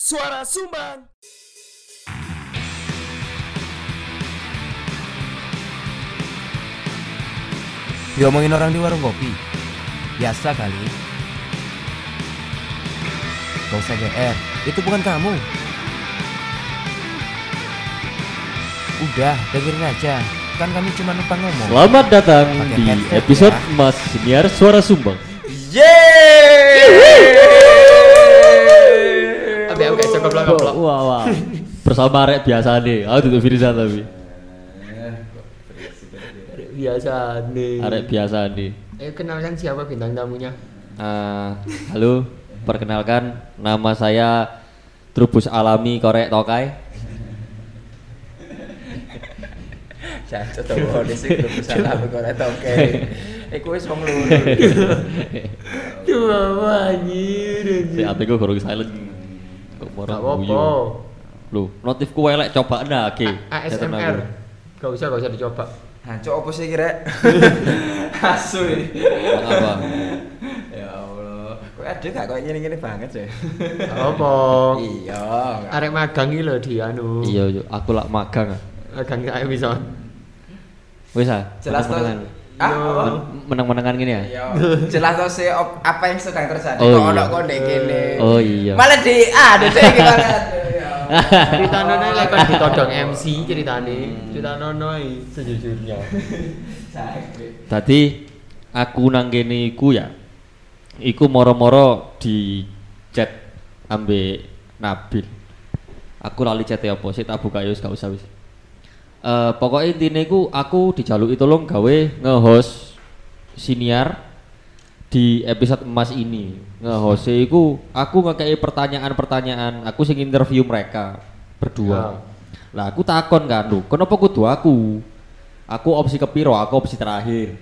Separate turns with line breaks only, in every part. Suara Sumbang.
Diomongin orang di warung kopi Biasa kali Gak usah GR Itu bukan kamu Udah, dengerin aja Kan kami cuma numpang ngomong
Selamat datang
Pakai
di
headset
episode
ya.
Mas Senior Suara Sumbang.
Abe abe cukup lah
Wah, wah, wah. Bersama rek biasa nih. Aku tutup Firza tapi.
Biasa nih.
Arek biasa nih.
Ayo kenalkan siapa bintang tamunya?
Eh, halo, perkenalkan nama saya Trubus Alami Korek Tokai.
Jancuk to wae sing kudu salah kok ora tau kae. Iku wis wong loro.
Duh apa anjir.
Si HP gue gorong silent. Kok
Gak
marah
apa-apa.
Lu, notifku elek coba nah, oke.
ASMR. Gak usah gak usah dicoba.
Jancuk opo sih iki rek? Asu ini.
Apa?
Ya Allah. Kok ada gak kok ngene-ngene banget sih?
Gak apa.
Iya. nggak-
Arek magang iki lho di anu.
Iya, iya, aku lak magang. ah.
Magang kae bisa.
Wis ah.
Jelas to.
menang-menangan.
Ah, apa?
Men- menang-menangan ah. gini ya.
Iya. Jelas to sih op- apa yang sedang terjadi
Oh,
kok
iya.
ono kok ndek kene.
Oh, iya.
Malah di ah, ada iki banget. Ya Allah.
Ceritane lek kan ditodong MC ceritane. Ceritane sejujurnya.
Sakit.
Tadi aku nang kene iku ya. Iku moro-moro di chat ambe Nabil. Aku lali chat e apa sih tak buka yus gak usah wis. Eh pokoknya intinya iku aku dijaluki tolong gawe nge-host siniar di episode emas ini nge-host iku aku ngekei pertanyaan-pertanyaan aku sing interview mereka berdua lah aku takon kan lho kenapa kudu aku aku opsi kepiro aku opsi terakhir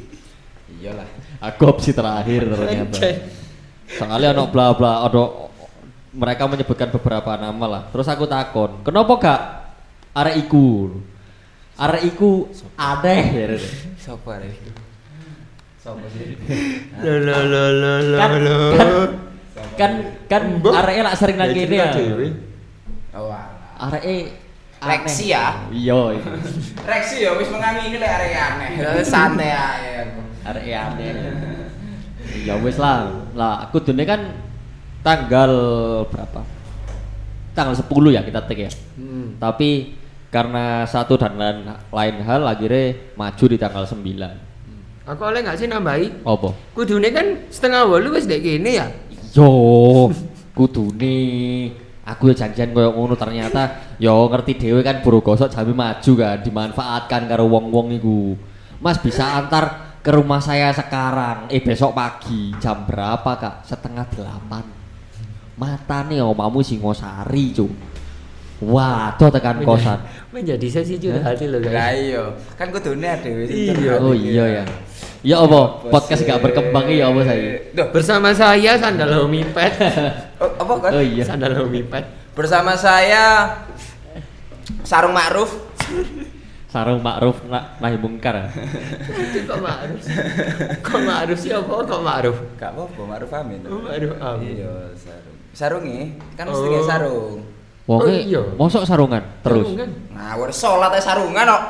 Iyalah.
aku opsi terakhir ternyata
Anjay.
soalnya ono bla bla ono mereka menyebutkan beberapa nama lah terus aku takon kenapa gak arek iku arek iku aneh
Sopo rek? Sopo sih?
Lo lo lo lo lo
kan
lo.
kan kan, kan arek lak sering nang
Ya,
kene
cerita
ya
dewe.
Oh. alah.
arek
Reksi ya.
iya
Reksi ya wis mengamini lek arek aneh. Terus santai ae aku.
arek aneh ya wis lah lah aku dene kan tanggal berapa tanggal 10 ya kita take ya
Hmm.
tapi karena satu dan lain, lain hal akhirnya maju di tanggal 9
Aku oleh nggak sih nambahi?
opo
Kudune kan setengah walu wis dek kene ya.
yo kudune aku ya janjian koyo ngono ternyata yo ngerti dhewe kan buru gosok jami maju kan dimanfaatkan karo wong-wong iku Mas bisa antar ke rumah saya sekarang eh besok pagi jam berapa kak setengah delapan mata nih omamu singosari cu wah tuh tekan kosan
Menjadi sesi curhat lho
Lah
guys.
iya, kan kudune dhewe
Iya.
oh iya ya ya apa podcast gak berkembang ya apa saya
Duh,
Bersama saya Sandal Homie Pet.
oh, apa kan?
oh iya
Sandal Homie Pet.
Bersama saya Sarung Ma'ruf.
sarung makruf na- nahi mungkar
Itu kok Ma'ruf? Kok Ma'ruf siapa? Kok Ma'ruf?
Gak apa-apa, Ma'ruf Amin.
Oh, Ma'ruf Amin.
Iya, sarung. Sarunge kan mesti
Oh.
kayak sarung.
Wonge
Oh iya.
e mosok sarungan terus.
Kan?
Ngawur salat ae sarungan kok.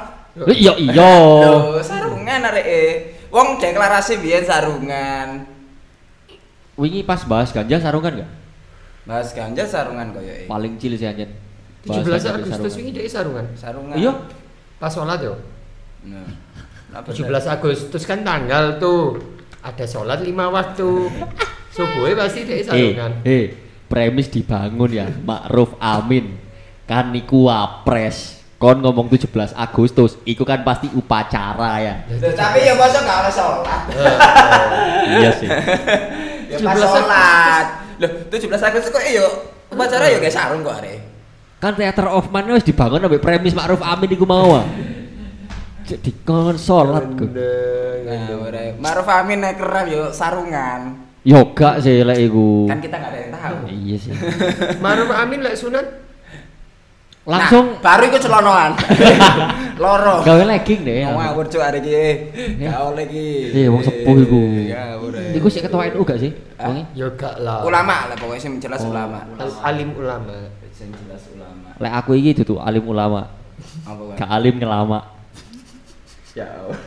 Eh, Iya iya.
Loh, sarungan areke. Wong deklarasi biyen sarungan.
Wingi pas bahas ganja sarungan gak?
Bahas ganja sarungan koyo e.
Paling cilik sih anjen. Bahas ganja
17
di
Eh. Agustus
sarungan.
ini dia sarungan.
Sarungan.
Iya.
Pas sholat yo.
Nah. Nah,
17
bener.
Agustus kan tanggal tuh. Ada sholat lima waktu. Subuhnya pasti
Eh,
dia sarungan.
eh, premis dibangun ya. Ma'ruf Amin. Kan niku wapres. Kon ngomong 17 Agustus, iku kan pasti upacara ya.
Loh, Tapi ya masa gak oleh salat.
iya sih.
Ya pas
17
sholat. Loh, 17 Agustus kok iya upacara ya kayak sarung kok are.
Kan Theater of Man wis dibangun ambek premis Ma'ruf Amin iku mau. ah. Cek dikon salat ku.
Nah, ora. Maruf Amin naik kerap yo sarungan.
Yoga sih lek iku.
Kan kita gak ada yang tahu.
Iya sih.
Ma'ruf Amin lek sunat
Nah,
Langsung-
baru iku celonoan. Loro.
Gawe legging deh ya.
Ngawur cuk arek iki.
Ya.
Gaul iki.
Iya, wong sepuh iku.
Ngawur, eh.
Iku sik ketua NU gak sih?
Ah.
Wonge?
Ya gak lah.
Ulama lah pokoknya sing jelas
Oh.
ulama.
Al- Alim ulama.
Sing jelas ulama.
Lek aku iki dudu alim ulama,
Apa kan?
gak alim ngelama.
Ya. Allah.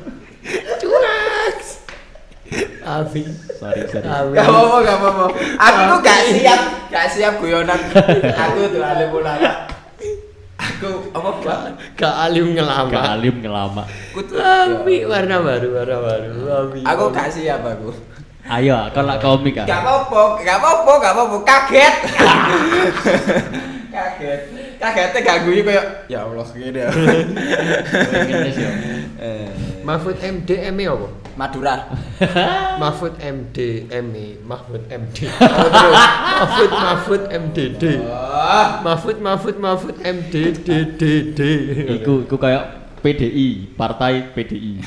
Abi.
Sorry, sorry.
Abi.
Gak apa-apa, gak apa-apa. Aku tuh gak siap, gak siap guyonan. Aku tuh alim ulama. Aku apa gak?
Gak alim
Gak
ngelama.
alim ngelama.
Aku tuh.
Abi warna baru, warna baru. Abi.
Aku kan- gak
Abi.
siap aku.
Ayo, kau lak komik
Gak
ah.
apa-apa, gak apa-apa, gak apa-apa. Kaget. Kaget. Kagetnya gak guyu kayak ya Allah gini ya.
Pengen sih.
Eh,
Mahfud MD ME E apa?
Madura.
Mahfud MD ME, E, Mahfud MD. Apa terus? Mahfud Mahfud MDD.
Oh,
Mahfud Mahfud Mahfud MDDDD.
Iku iku kayak PDI, partai PDI.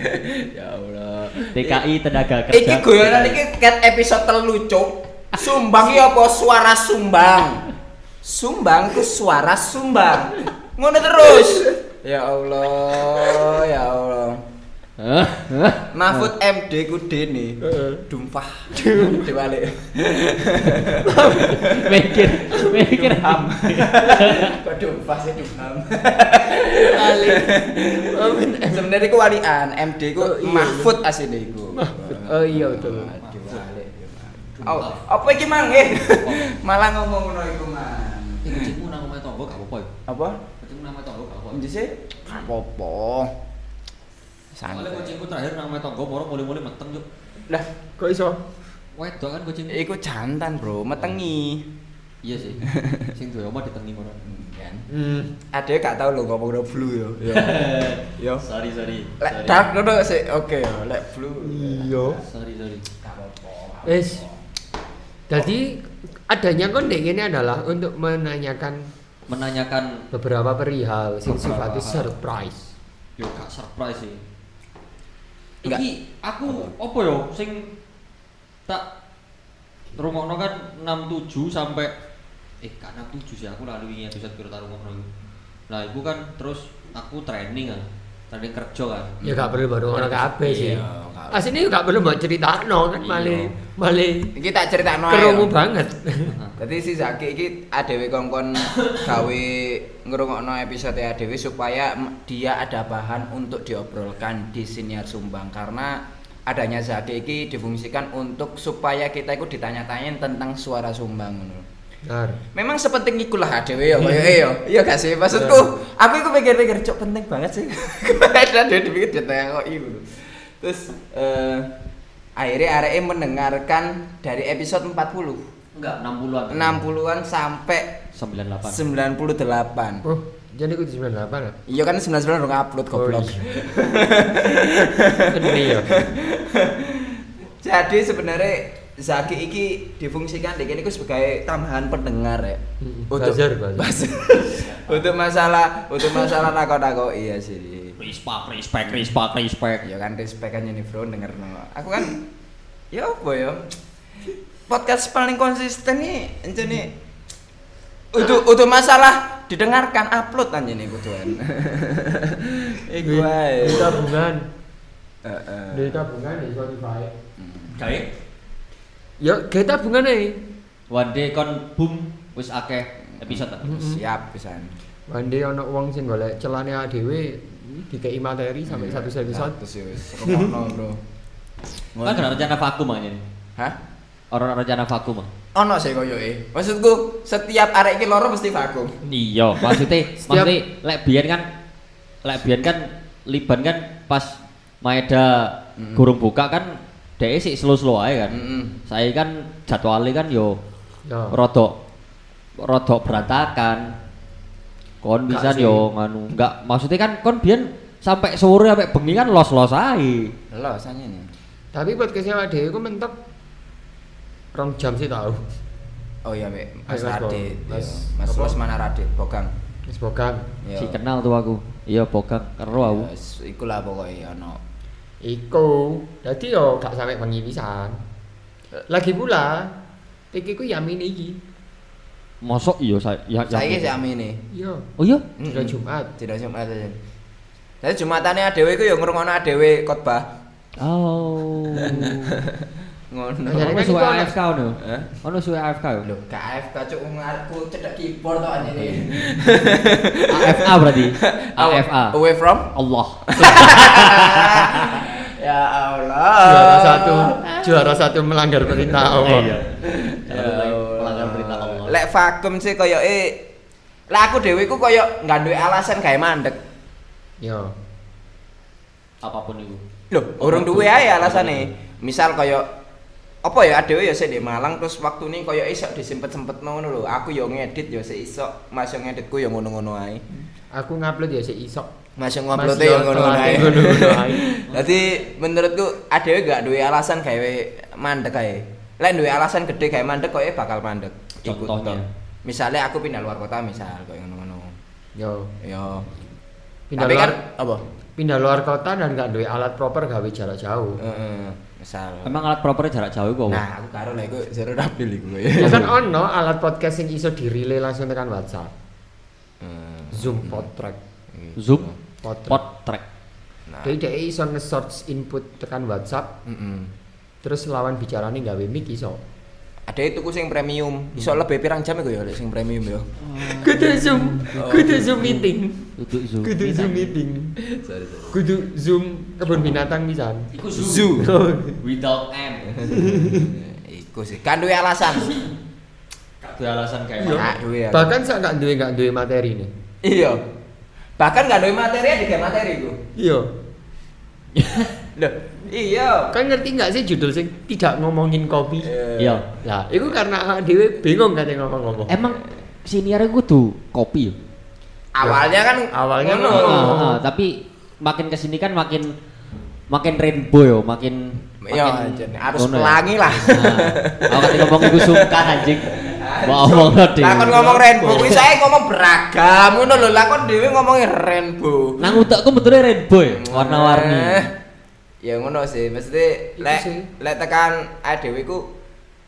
ya Allah.
TKI tenaga kerja.
Iki guyonan iki ket episode telu cuk. Sumbang iki apa suara sumbang. Sumbang ku suara sumbang. Ngono terus. Ya Allah, ya Allah.
Hah? Hah?
Mahfud MD ku Dene.
Heeh.
Dumpah. Dibalik.
Mikir, mikir ham.
Kok dumpah sih dumpah.
Alim. Mahfud M-
Sebenarnya ku walian, MD ku Mahfud asine iku.
Oh iya betul.
Aduh, balik. Oh, apa iki mang? Eh, Malah ngomong ngono iku mang.
Kucingmu nang omahe tangga gak apa-apa.
Apa?
Kucingmu nang omahe tangga gak
Nje sih? Apa? Santai.
kucingku terakhir nang omahe tangga moro mulai-mulai meteng yuk.
Lah,
Kok iso?
Wedok kan kucing.
iku jantan, Bro, metengi.
Iya sih. Sing duwe omah ditengi ngono.
Kan. Iya.
Hmm.
Ade gak tau lho ngomong no blue yo. Yo. Eh, Yo.
Sorry, sorry.
Lek dark ngono sih oke yo, lek blue.
Iya.
Sorry, sorry.
Gak apa-apa.
Wis. Jadi adanya kon dek ini adalah untuk menanyakan
Menanyakan
beberapa perihal sing
Beberapa
sifatnya
hal.
surprise.
yo gak surprise sih.
Enggak.
Iki aku apa yo sing tak rungokno kan 67 sampai eh gak 67 sih aku lalu wingi episode piro tak rungokno iku. Nah, iku kan terus aku training kan. Training kerja kan.
Ya gak perlu baru ngono kabeh sih.
Iya, gak-
Asline juga gak perlu mbok critakno kan
Iya.
male male
Iki tak critakno ae. ya.
kerungu
yo.
banget.
Dadi si Zaki iki adewe kongkon gawe ngrungokno episode adewe supaya m- dia ada bahan untuk diobrolkan di siniar Sumbang karena adanya Zaki iki difungsikan untuk supaya kita itu ditanya-tanyain tentang suara Sumbang ngono.
Benar.
Memang sepenting ikulah adewe ya kaya eh, yo. Iya gak sih maksudku. Aku iku pikir-pikir cuk penting banget sih. Ada dia dipikir ditanya kok iku. Terus eh, akhirnya areke mendengarkan dari episode 40
Enggak, 60-an.
60-an sampai 98.
98.
Oh, jadi aku 98 ya?
Iya kan 99 udah upload goblok.
Oh, iya. Ini ya.
Jadi sebenarnya Zaki iki difungsikan di kene iku sebagai tambahan pendengar ya.
Mm, buzzer, buzzer.
buzzer. untuk masalah untuk masalah nako-nako iya sih.
Rispa, respect, rispa, respect.
Ya kan respect kan ini bro denger Aku kan ya apa ya? Podcast paling konsisten nih ini nih. Untuk untuk masalah didengarkan upload aja nih kuduan. Iku ae.
Duit tabungan,
Heeh.
duit tabungan di Spotify.
Gawe
Ya, gawe tabungan ae.
one day kon boom wis akeh episode.
Mhm.
ta?
Siap pisan.
Mandi ana wong sing golek celane dhewe dikei materi sampai satu episode.
Terus ya wis. Rungokno, Bro.
Kan ada rencana vakum aja nih.
Hah?
Orang rencana vakum ah.
Ono sih koyoke. Maksudku setiap arek iki loro mesti vakum.
Iya, maksudnya
Setiap-
maksudnya lek biyen kan lek biyen kan liban kan pas Maeda
Mm-mm.
gurung buka kan dhek sik slow-slow ae kan.
Heeh.
Saya kan jadwalnya kan yo
Ya.
rodok rodok berantakan. Kon
Enggak
bisa
sih.
yo nganu. Enggak, maksudnya kan kon biyen sampai sore sampai bengi kan los-los ae.
Lho, sanya nih.
Tapi buat kesnya dhewe ku mentok rong jam sih tau.
Oh iya, Mek. Mas
Ayo, Mas Bo.
Radit. iya.
Mas-
Mas
apa?
Mas mana Radit? Bogang.
Wis bogang.
Iya.
Si kenal tuh aku. Iya, bogang karo aku.
Iya, s- Ikulah pokoknya ono.
Iku, dadi yo gak sampe bengi pisan. Lagi pula, iki ku yamin iki.
Mosok iya saya ya, ya-
Saiki sik amine.
Iya.
Oh iya.
Dina Jumat.
Dina Jumat. aja. Tapi Jumatane adewe iku ya ngrungokno adewe khotbah.
Oh.
Nah,
Ngono.
Ono
jadi kan
suwe
iku ana-
AFK ono.
Hah?
Ono suwe AFK yo.
Lho, KF kacuk ngarepku cedak keyboard tok anjene.
AFA berarti. AFA.
Away from?
Allah.
ya Allah.
Juara satu, juara satu melanggar perintah Allah.
Iya.
Ya
Pelanggan berita Allah.
Allah. Lek vakum sih koyoke lah aku dhewe ku koyo nggak duwe alasan gawe mandek.
Iya.
Apapun itu.
Loh,
Oh,
urung duwe ae alasane. Misal koyo apa ya adewe ya sik di Malang terus waktu ini koyo isok disempet-sempet ngono lho. Aku yo ngedit yo sik isok, Mas yo ngeditku yo ngono-ngono ae.
Aku ngupload ya sik isok.
Mas yo
Mas
ngupload
yo
yo ngono-ngono
telat
ae.
ngono-ngono ae.
Dadi menurutku adewe gak duwe alasan gawe mandek ae. Lek duwe alasan gede gawe mandek koyo bakal mandek. Iku
Contohnya?
toh. Misalnya aku pindah luar kota misal koyo ngono-ngono.
Yo.
Yo.
Pindah
Tapi
luar,
kan apa?
pindah luar kota dan gak duwe alat proper gawe jarak jauh.
Heeh, misal.
Emang alat propernya jarak jauh kok.
Nah, aku karo lek iku seru rapil iku.
Iya.
Ya kan ono alat podcast sing iso direlay langsung tekan WhatsApp.
Heeh.
Zoom potrek.
Zoom
Potrek.
Hmm. pot track.
Nah.
Jadi dia iso nge-search input tekan WhatsApp,
Heeh.
terus lawan bicarane gawe mic iso.
Ada itu ku sing premium. Iso lebih pirang jam iku ya lek sing premium ya.
Kudu Zoom, kudu Zoom meeting.
Untuk Zoom.
Kudu Zoom meeting. Kudu Zoom kebun binatang pisan.
Iku
Zoom.
Without M.
Iku sih. Kan duwe alasan.
Itu alasan kayak
Iya.
Nah, duwe. aku.
Bahkan sak gak duwe gak duwe materi nih.
Iya. Bahkan gak duwe materi digawe materi iku.
Iya.
Loh, iya.
Kan ngerti nggak sih judul sing tidak ngomongin kopi?
Eh.
Iya.
Lah, itu karena awak dhewe bingung kate ngomong-ngomong.
Emang siniarnya gue tuh kopi. ya?
Awalnya kan
Awalnya
ngono.
Oh. ngono.
Ah, ah, tapi makin kesini kan makin makin rainbow yo, makin
Iya,
makin
anjir. Harus
ngono ya.
pelangi lah.
Nah, aku kata ngomong iku sungkan anjing. Mau ngomong lo deh.
Lah kon ngomong rainbow kuwi saya ngomong beragam ngono lho. Lah kon dhewe ngomongin rainbow.
Nang utakku betulnya rainbow ya, warna-warni.
Eh, ya ngono sih mesti
Iku
lek
sih.
lek tekan adewe ku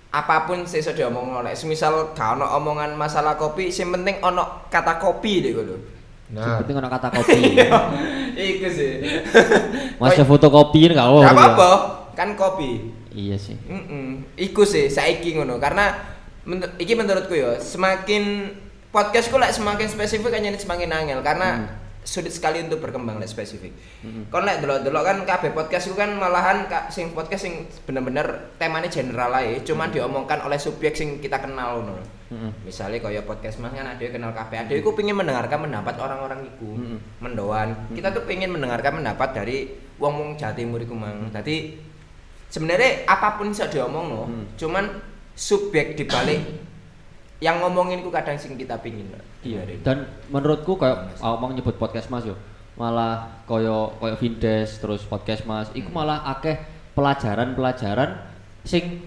apapun sih iso diomongno lek semisal gak ono omongan masalah kopi sing penting ono kata kopi deh kudu
Nah,
Penting ono kata kopi.
iku sih
Masih fotokopi ini gak
Gak
apa-apa.
apa-apa kan kopi
Iya sih.
Mm-mm. iku sih saiki ngono karena menur- iki menurutku ya semakin podcastku lek semakin spesifik kan jadi semakin angel karena sulit sekali untuk berkembang lek spesifik. Kon lek delok-delok kan kabeh podcastku kan malahan ka- sing podcast sing bener-bener temanya general ae, cuman diomongkan oleh subjek sing kita kenal ngono.
Mm-mm.
Misalnya kaya podcast mas kan ada yang kenal kabeh, ada yang ku pengen mendengarkan pendapat orang-orang iku,
Iya. Mm-mm.
mendoan. Kita tuh pengen mendengarkan pendapat dari wong-wong Jawa Timur iku mang. Dadi sebenarnya apapun bisa diomong loh
Hmm.
cuman subjek dibalik yang ngomongin ku kadang sing kita pingin Pak.
Iya. Hmm. Dan menurutku kayak awak mau nyebut podcast Mas yo. Malah koyo koyo Vindes terus podcast Mas. Iku
Hmm.
malah akeh pelajaran-pelajaran sing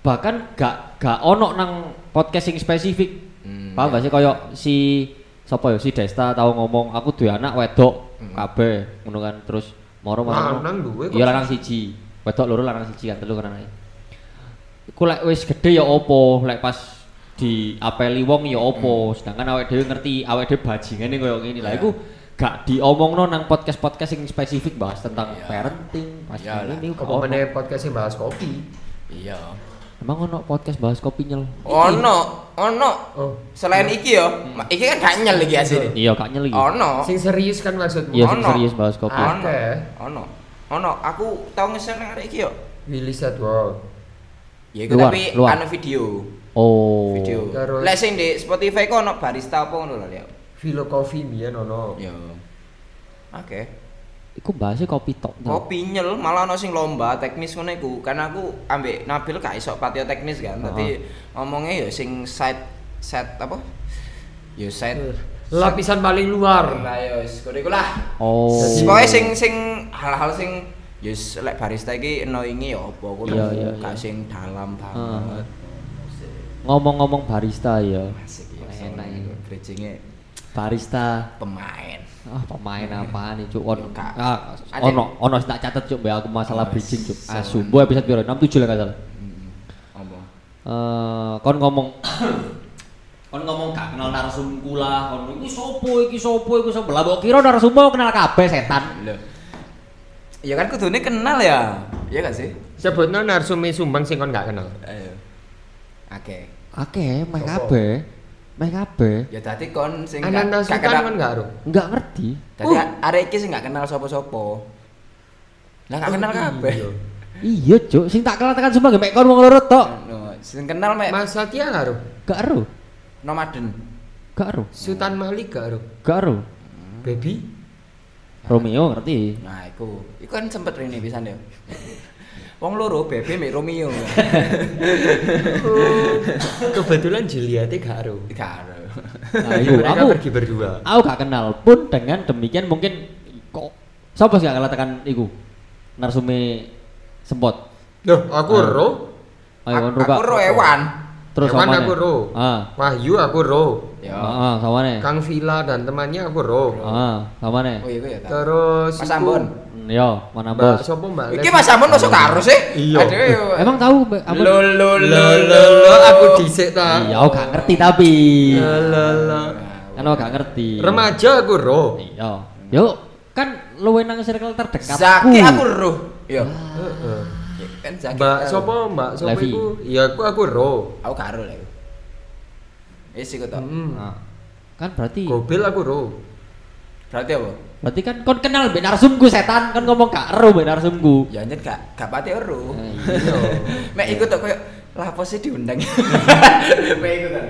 bahkan gak gak ono nang podcast sing spesifik.
Hmm,
Paham gak sih koyo si sapa yo si Desta tau ngomong aku duwe anak wedok
Hmm.
kabeh ngono kan terus moro moro.
lanang duwe kok.
Iya lanang siji. Wedok loro lanang siji kan telu kan anake. Iku lek wis gede ya opo, lek pas diapeli wong ya opo,
Hmm.
sedangkan awake dhewe ngerti awake dhewe bajingane koyo ngene. Lah
Iya.
iku gak diomongno nang podcast-podcast sing spesifik bahas tentang
Iya.
parenting, bahas
Iya lah.
ini
Apa meneh podcast sing bahas kopi?
iya
Emang ono podcast bahas kopi nyel.
ono ono
Oh.
selain iki yo ma- iki kan gak nyel iki asli
Mm. Iya, gak nyel iki.
ono
Sing serius kan maksudmu?
Iya, sing
Ono.
serius bahas kopi.
Ah.
ono
Oke.
ono ono aku tau ngeser nang arek iki yo
Willy Sadwell.
ya iku
Luar,
tapi
luar.
anu video
Oh.
video
Terus.
lek sing di Spotify ku ono barista apa ngono lho ya
Vilo Coffee biyen ono.
yo oke
Iku bahasnya kopi tok. Nyel.
kopi nyel malah ono sing lomba teknis ngono iku karena aku ambek Nabil gak iso patio teknis kan tapi ngomongnya ya sing side set apa ya side
Lapisan paling luar.
lah ya wis kono iku lah
Oh.
pokoknya sing sing hal-hal sing ya wis, lek barista iki annoying ya apa aku
Iya, iya,
gak
iya.
sing dalam
Heeh.
banget
Ngomong-ngomong barista ya.
asik ya
Enak
enak
iku.
iku bridging-e
Barista
pemain
Ah, pemain apaan nih, Cuk? Ono.
Kak.
Ah,
Ada-
ono, ono tak catet, Cuk, mbak aku masalah
Oh,
bridging, Cuk.
sama.
Asu, boy episode piro? 67 lah nggak salah.
Mm-mm. apa
Eh, kon ngomong Kon ngomong gak kenal narsumku lah, kon iki sopo iki sopo iku sopo. Lah mbok kira narsumku kenal kabeh setan.
Loh. Ya kan kudune kenal ya. Iya gak sih?
Sebutno narsume Sumbang sing kon gak kenal.
Ayo. Oke.
Akeh meh
Sopo?
kabeh. Meh kabeh.
Ya tadi kon sing gak-
Ananda
gak
Sutan kon
kenal.
gak Uh. ero.
Enggak ngerti.
Tadi arek iki sing gak kenal sapa-sapa. Lah gak kenal kabeh.
Oh, Iya.
Iya, Cuk. Sing tak kenal tekan Sumbang ya, mek kon wong loro tok.
No, sing kenal mek
Mas Satya gak ero.
Gak ero.
nomaden.
Gak ero.
Sultan Malik gak ero.
Gak ero.
Baby
Romeo ngerti.
Nah, iku. Iku kan sempet rene pisan ya. Wong loro Bebe mek Romeo.
kebetulan Juliette gak ero.
Gak ero.
Nah,
Jadi
iku
mereka
aku
pergi berdua.
aku gak kenal pun dengan demikian mungkin kok sapa sih gak katakan iku narsume sempot
Loh, aku
Ah.
ero.
ayo kon
Aku- Aku ro ewan.
terus
Ewan
samane.
aku ro.
ah Eh.
Wahyu aku ro.
Ya.
heeh samane
Kang Vila dan temannya aku ro.
heeh samane
Oh iya iku ya. ta.
Terus
Mas
iku-
Ambon.
yo mana
Mbak
bos
sopo Mbak?
Iki
Les?
Mas Amon masuk karo sih.
Iya.
Aduh, yo.
emang tahu Mbak, apa
Lo lo lo
Lo
lo
lo lo aku dhisik ta.
iya aku gak ngerti tapi
Lo lo lo.
kan aku gak ngerti
Remaja aku ro.
iya yo kan luwe nang circle terdekat
Zaki aku roh. Yo.
Heeh.
Kan Zaki.
Hmm. Mbak
tahu.
sopo Mbak sopo
Levi.
iku? Ya aku aku ro.
Aku karo lah. iku. Wis iku to.
Hmm.
Nah, kan berarti
Gobel aku ro.
Berarti apa?
berarti kan kon kenal mbek narsumku setan kan ngomong gak ero mbek narsumku
Ya anjir gak gak pati ero.
Hmm, Iya.
Mek iku tok koyo lah apa sih diundang. Mek iku to.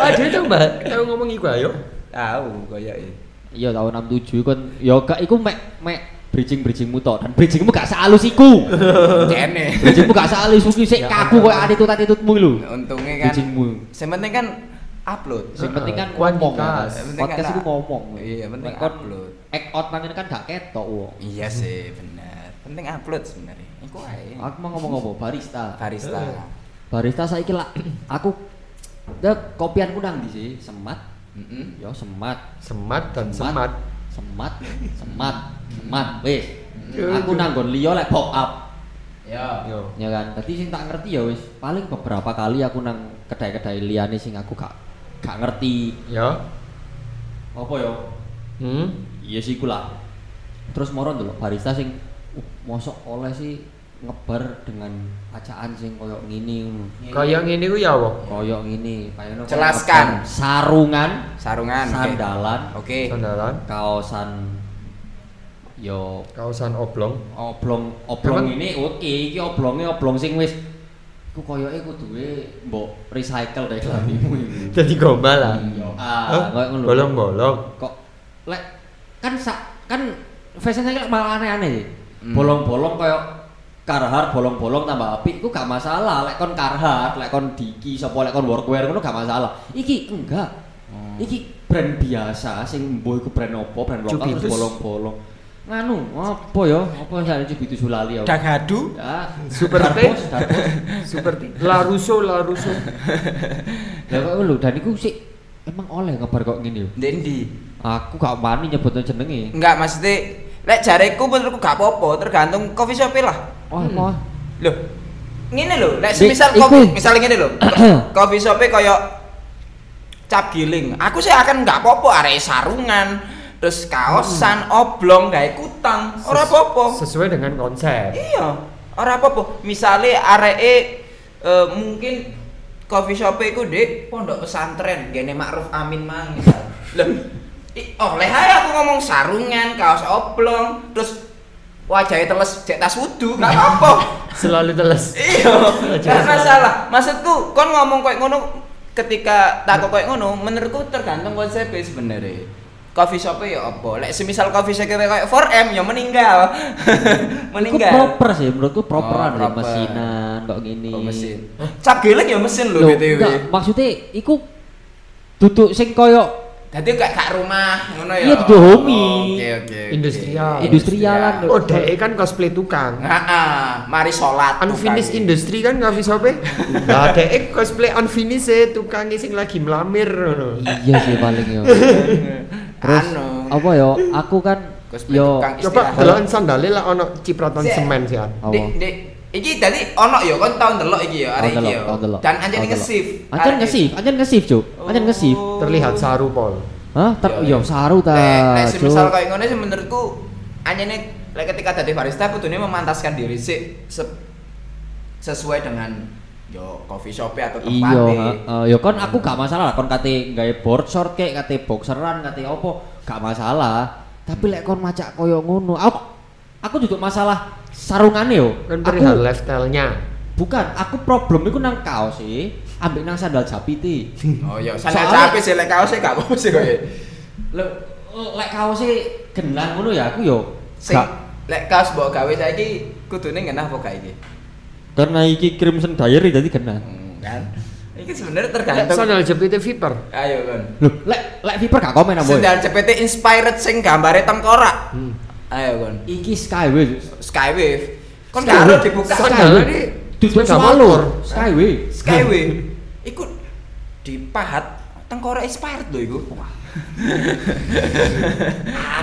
Ah, dia tau Mbak, tau ngomong iku ayo.
Tahu koyo iki.
Iya tahun 67 kan ya gak iku mek mek bridging-bridgingmu tok dan bridgingmu gak sealus iku.
Jene.
bridgingmu gak sealus iku sik
Ya
kaku
ampun.
koyo atitut-atitutmu lho.
Untungnya kan
Bridgingmu.
Sing penting kan upload.
Sing
Heeh,
penting kan ngomong.
kuantitas.
Yang penting
Podcast
kan
iku
tak-
ngomong.
Iya, penting
Nek kon
upload.
Act out nang ngene kan gak ketok wo.
Iya sih, bener. Penting upload sebenarnya. Iku ae.
Aku mau ngomong apa? Barista.
Barista.
Eh.
Barista saiki lah aku ya, kopianku nang ndi sih? Semat.
Heeh.
Yo semat.
Semat dan semat.
Semat. Semat. Semat. Wis. Aku nang nggon liya lek pop up.
Ya.
Yo.
ya kan tadi sing tak ngerti ya wis paling beberapa kali aku nang kedai-kedai liyane sing aku gak gak ngerti
Yo.
apa ya
Ya. Hmm.
iya sih iku lah terus moro dulu barista sing uh, mosok oleh sih ngebar dengan acaan sing koyok ngini ngono.
Kaya ngene ku ya apa?
koyok ngini kayaknya koyok
Jelaskan.
ngebar. sarungan
Sarungan. oke.
sandalan
Oke.
Sandalan.
kaosan yo
Kaosan oblong.
oblong oblong
Emang-
ini oke iki oblonge oblong sing wis ku koyoke kuduwe mbok recycle dari lamimu iki.
Jadi gombal lah.
Hmm.
gitu.
Yo,
Hah?
ah, koyo ngono.
Bolong-bolong.
Kok lek kan sak kan fashion saiki lek malah aneh-aneh.
Hmm.
Bolong-bolong koyo Carhartt bolong-bolong tambah apik iku gak masalah lek kon Carhartt, lek kon Diki, sapa lek kon workwear ngono gak masalah. Iki enggak. Iki brand biasa sing mbuh iku brand apa, brand lokal terus
Cubitus.
bolong-bolong. Nganu, apa ya? Apa jane cubitus sulali ya?
Dagadu.
Ah,
Super
Darbos,
T.
Darbos.
Seperti Laruso, Laruso.
Lah kok lho, dan iku sik emang oleh kabar kok ngene yo.
Dendi.
Aku gak wani nyebutno jenenge.
Enggak maksudnya lek jareku menurutku gak apa-apa tergantung coffee shop lah
Oh, apa?
loh ngene lho lek
Di-
semisal
iku.
kopi misal ngene lho coffee shopnya koyo cap giling aku sih akan nggak apa-apa arek sarungan terus kaosan
Hmm.
oblong gawe kutang ora
Ses-
apa-apa
Sesuai dengan konsep.
iya ora apa-apa misale areke eh, mungkin coffee shop iku Dik, pondok pesantren gene Ma'ruf Amin mang misal. Lah i- oleh ae aku ngomong sarungan kaos oblong terus wajahnya teles cek tas wudu gak apa-apa
Selalu teles.
iya gak
Jelas,
masalah maksudku kon ngomong koyo ngono ketika takok koyo ngono menurutku tergantung konsepnya sebenarnya coffee shopnya ya apa lek semisal coffee shop kayak 4M ya meninggal
Iku
meninggal
proper sih menurutku properan
Oh,
lho
proper.
mesinan kok ngene.
Oh, mesin. Cap geleng ya mesin lho
Lho,
BTW.
enggak, maksudnya iku duduk sing koyo
Dadi enggak gak rumah ngono ya.
Iya, duduk homey.
Oke oke. oke.
Industrial.
Industrialan lho.
Oh, dek kan cosplay tukang.
Heeh, mari salat.
Anu
Ah,
Unfinished
tukang.
industry kan nggak bisa apa? Nah, dek cosplay unfinished eh, tukang sing lagi melamir. ngono.
Iya sih paling yo. Terus
Anu.
apa yo? Aku kan
Cosplay
yo
tukang.
Coba
Istirahat.
delokan sandale lah ono cipratan
Sik.
semen sih.
Apa?
Dik, dik. Iki tadi ono yo kon tahun delok iki yo
Tahun
hari iki
delok,
yo.
tahun delok.
Dan anjen
Tahun delok.
nge-save.
Anjen
Arek- Oh.
nge-save, anjen nge-save, Cuk. Anjen nge-save.
Terlihat saru pol.
Hah? Ter
Yo,
yo saru ta.
Nek- Nek
Cuk.
semisal kayak ngono sih menurutku anjene lek ketika dadi barista kudune memantaskan diri sih se- sesuai dengan yo coffee shop atau e.
Iya,
tempatnya
heeh. ya kan aku gak masalah lah kon kate gawe board short kek, kate boxeran, kate opo, gak masalah. Tapi lek kon macak koyo ngono, aku aku juga masalah sarungane yo.
Kan perihal
Aku Nah,
lifestyle-nya.
bukan, aku problem iku nang kaos e, ambek nang sandal japiti.
Oh iya, sandal
Soalnya-
capek sih lek kaos sih gak apa-apa sih ya. koyo.
Lek lek kaos e genang ngono ya aku yo.
Sing
Gak.
lek kaos mbok gawe saiki kudune ngena apa gak iki?
Karena iki Crimson Diary jadi genang.
Hmm, kan. Iki sebenarnya tergantung.
Sandal jepit Viper.
Ayo kon.
Loh, lek lek Viper gak komen ambo. ya?
Sandal CPT inspired sing gambare tengkorak.
Hmm.
Ayo kon.
Iki Skyway.
Skywave. Kon gak harus dibuka.
Sandal ini
Duduk
sepeda motor.
swallow. Skyway.
Skyway. Iku dipahat tengkorak inspired lho iku.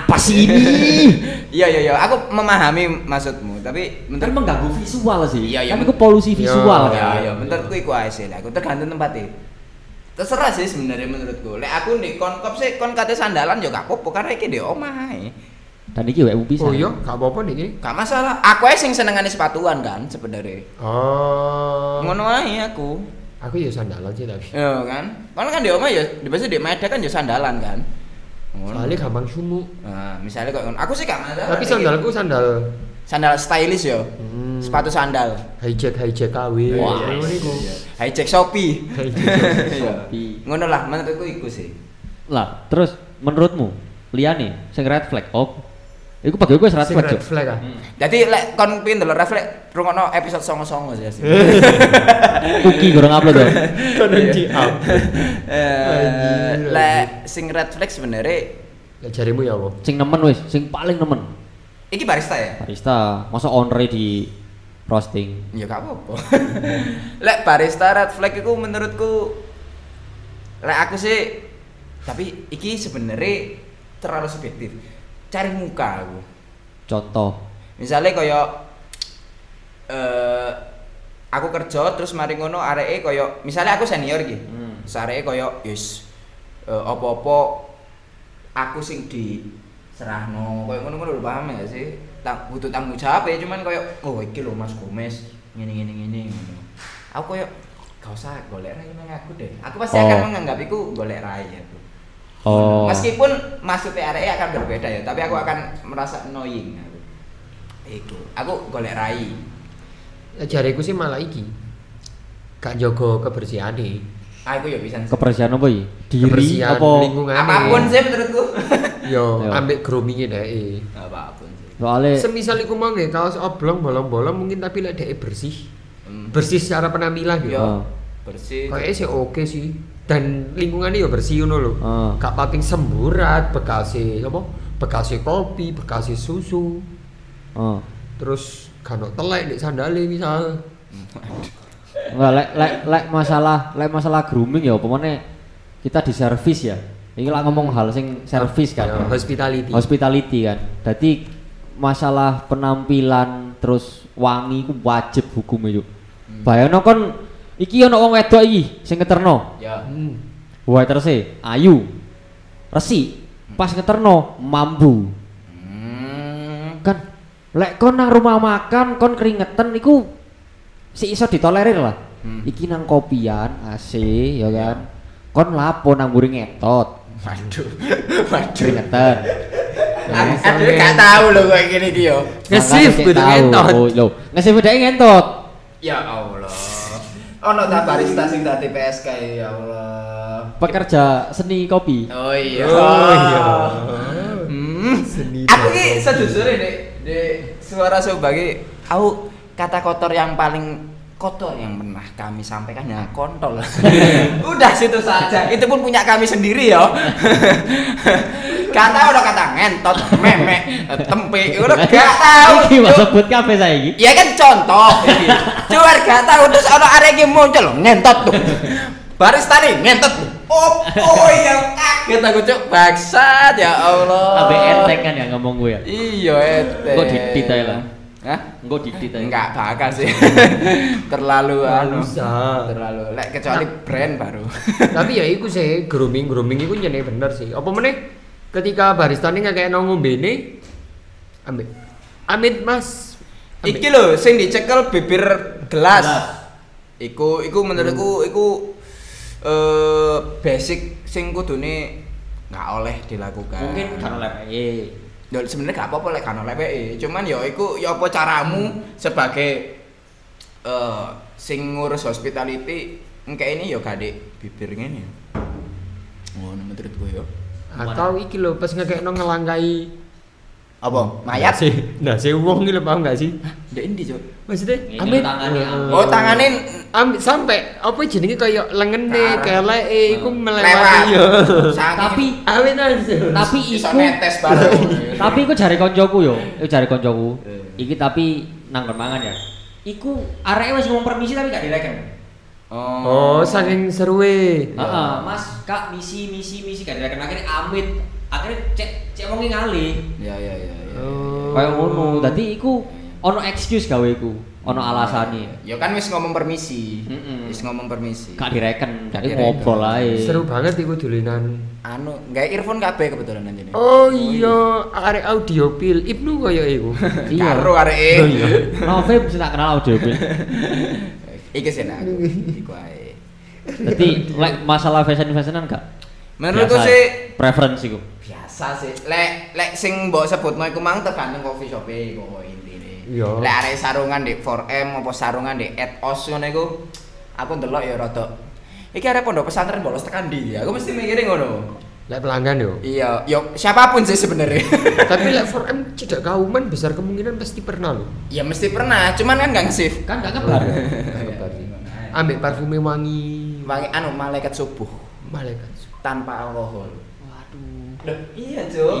Apa sih ini?
Iya iya iya, aku memahami maksudmu, tapi
kan
menurut
mengganggu visual sih
Iya, iya.
kan itu polusi
Iya,
visual
ya
kan
ya menurutku iku ae sih aku tergantung tempatnya terserah sih sebenarnya menurutku lek aku di konkop sih kon kate sandalan ya gak apa-apa karena iki di omah ae.
dan iki wae bisa
Oh iya, gak apa-apa niki.
gak masalah aku ae sing senengane sepatuan kan sebenarnya
Oh.
ngono ae aku
Aku ya sandalan sih tapi.
ya kan kon kan di omah ya di biasa di Medan kan ya sandalan kan Ngono.
Soalnya gampang sumuk.
nah, misalnya kok ngono. aku sih gak masalah
Tapi
Iki
sandalku sandal
sandal stylish yo
Hmm.
sepatu sandal
hijack hijack KW.
Wah, Iya,
Ngono niku.
hijack Shopee Ya.
Hijack.
Shopee.
ngono lah menurutku iku sih
lah terus menurutmu liane sing red flag op Iku bagi gue red
Sing
flag
Red
Cuk.
flag ah.
Jadi lek kon pin delok reflek rungokno episode 09 sih. asli.
Kuki gorong upload ya
Kanan di up.
Eh,
Anjir,
lek sing red flag sebenarnya
Lah jarimu ya apa?
sing nemen wis sing paling nemen
iki barista ya?
barista masa onre di roasting
Ya gak apa-apa. lek barista red flag iku menurutku lek aku sih tapi iki sebenarnya terlalu subjektif. Cari muka aku.
contoh
Misalnya koyo eh aku kerja terus mari ngono areke koyo misalnya aku senior iki.
Hmm.
Terus areke koyo yes eh, apa-apa aku sing di serahno koyo ngono-ngono lho paham gak sih? Tak butuh tanggung jawab ya cuman koyo oh iki lho Mas Gomez ngene ngene ngene ngono. Aku koyo gak usah golek rai nang aku deh. Aku pasti
Oh.
akan menganggap iku golek rai aku.
oh
Meskipun maksudnya areke akan berbeda ya, tapi aku akan merasa annoying aku. Itu. Aku golek rai.
Lah jariku sih malah iki. Gak jaga kebersihan
Aku ya bisa. sih.
kebersihan apa ya diri
Kebersihan
apa
lingkungan.
Apapun sih Iya. menurutku.
Yo,
Yo.
ambek grooming dhek.
Apapun sih.
soalnya
Semisal iku mau nggih kaos oblong bolong-bolong mungkin tapi lek dhek bersih.
Hmm.
Bersih secara penampilan yo.
Oh.
Yo. Bersih.
Kayaknya sih oke sih. Dan lingkungannya ya bersih ngono lho.
Ah.
Gak pating semburat, bekasi apa? Bekasi kopi, bekasi susu.
oh.
Terus kano telek di sandale misal.
Nggak, lek lek lek masalah lek masalah grooming ya pemane kita di servis ya. Ini lah ngomong hal sing servis kan.
Ya, hospitality.
Hospitality kan. Jadi masalah penampilan terus wangi ku wajib hukum itu.
Hmm.
Bayangno kon iki ono wong wedok iki sing ngeterno.
Ya.
Hmm.
Waiterse ayu. Resi.
Hmm.
Pas ngeterno mambu.
Hmm.
Kan lek kon nang rumah makan kon keringetan iku si iso ditolerir lah.
Hmm. Iya.
Iki nang kopian AC ya kan. Kon lapo nang mburi ngetot.
Waduh. Waduh.
Keringetan.
Aku aku gak tahu loh kayak gini iki yo.
Nge-shift
Makanya
kudu
kayak tahu.
ngentot.
Oh, Lho, ngesif dhek ngentot.
Ya Allah. Ono ta barista sing dadi PSK ya Allah.
Pekerja seni kopi.
Oh iya.
Oh, iya.
Hmm.
Seni
Aku
banget.
ki sejujurnya dek dek suara sobagi aku kata kotor yang paling kotor yang pernah kami sampaikan ya kontol. Udah situ saja. Itu pun punya kami sendiri ya. kata udah kata ngentot, memek, tempe, udah gak tahu.
Iki mas sebut kafe saya iki.
Ya kan contoh. ini. Cuar gak tahu terus ono arek iki muncul ngentot tuh. Barista nih ngentot. Oh, oh yang kaget aku cuk bangsat ya Allah.
Abe enteng kan ya ngomong gue ya.
Iya enteng.
Kok didit aja lah.
Hah?
Engko didit ae.
Enggak bakal sih. terlalu
Nggak
anu.
usah.
Terlalu. Lek kecuali brand baru.
tapi ya iku sih grooming grooming iku nyeneng bener sih apa meneh ketika barista ini kayak nongol bene ambil amit mas Ambil.
Iki lho sing dicekel bibir gelas.
Gelas.
Iku iku menurutku iku eh basic sing kudune nggak oleh dilakukan.
Mungkin kan oleh eh.
Ya sebenarnya gak apa-apa lek kan oleh PE. Cuman ya iku ya apa caramu sebagai eh sing ngurus hospitality engke ini ya gak di bibir ngene. Ngono menurutku ya.
atau Ah, iki lho pas ngekek nong ngelangkai
Apa? Mayat?
sih nah si uang gitu paham nggak sih
Ndek endi, Cuk?
maksudnya
Ini
amit
tangannya, amit.
Oh, tangane
amit sampai apa ya jenenge kayak
Karep.
lengene kayak lele iku melewati
lewat.
ya
Saking-
Tapi
amit mas
tapi
iso
iku
netes bareng.
tapi iku jare koncoku yo, iku jare koncoku.
Eh.
Iki tapi nang nggon mangan ya. Iku areke wis ngomong permisi tapi gak direken.
oh saking serue
Heeh, Mas, Kak, misi misi misi gak direken. Akhirnya amit. Akhirnya cek cek wong ngalih.
Ya ya ya. ya.
Oh.
Kayak ngono. Dadi iku ono excuse gawe iku, ono
Hmm.
alasane.
Ya kan wis ngomong permisi.
Mm-mm.
Wis ngomong permisi.
Gak direken,
Gak
jadi
direken.
ngobrol ae.
seru banget iku dulinan
Anu, nggak earphone kabeh kebetulan anjene.
oh iya arek audiofil ibnu kaya iku
iya.
Karo e. areke.
Oh, iya.
Nove bisa tak kenal audio Bil.
Iki sih nah, aku. Iku ae.
Dadi lek masalah fashion-fashionan gak?
Menurutku
Biasa
sih
ae. preference iku.
biasa sih. Lek lek sing mbok sebutno iku mang tergantung coffee shop e kok intine.
Iya.
Lek arek sarungan di 4M apa sarungan di Etos ngono iku aku ndelok ya rada Iki arek pondok pesantren bolos tekan ndi? Aku mesti mikirnya ngono.
lek pelanggan yo
Iya, yo siapapun sih sebenarnya.
tapi lek 4M tidak kauman besar kemungkinan pasti pernah lo
Ya mesti pernah, cuman kan nggak nge-save.
Kan gak kabar.
ambek parfumnya wangi
Wangi anu malaikat subuh
malaikat
tanpa alkohol.
Waduh.
iya, Cuk.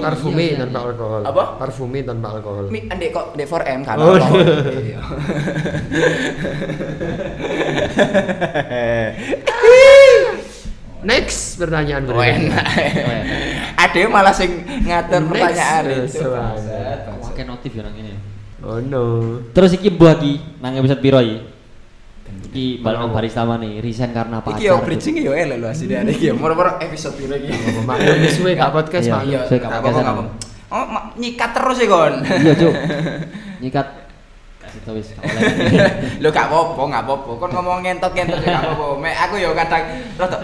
iya,
parfume
iya.
tanpa alkohol
Apa?
parfume tanpa alkohol
Mi andek kok ndek 4M kan
Oh,
alkohol. Iya.
next pertanyaan
Oh, enak. Ada yang malah sing ngatur
Next. eh,
pertanyaan
Yes,
itu.
soalnya.
Bangsat,
Kok
bangsat.
akeh notif ya nang ngene.
oh no
Terus iki mbah iki nang episode piro iki? Iki balik nang barista mana resign karena pacar.
Iki yo bridging yo elek lho asine ada iki yo moro-moro episode piro iki.
maklum suwe gak podcast
Iya.
maklum
Iya, gak
Saya gak
apa-apa,
kesan.
gak apa-apa. Oh, ma- nyikat terus ya, Kon.
Iya, Cuk. Nyikat. Kasih tau wis gak oleh.
Lo gak apa-apa, gak apa-apa. Kon ngomong ngentot-ngentot ya gak apa-apa. Mek aku yo kadang rada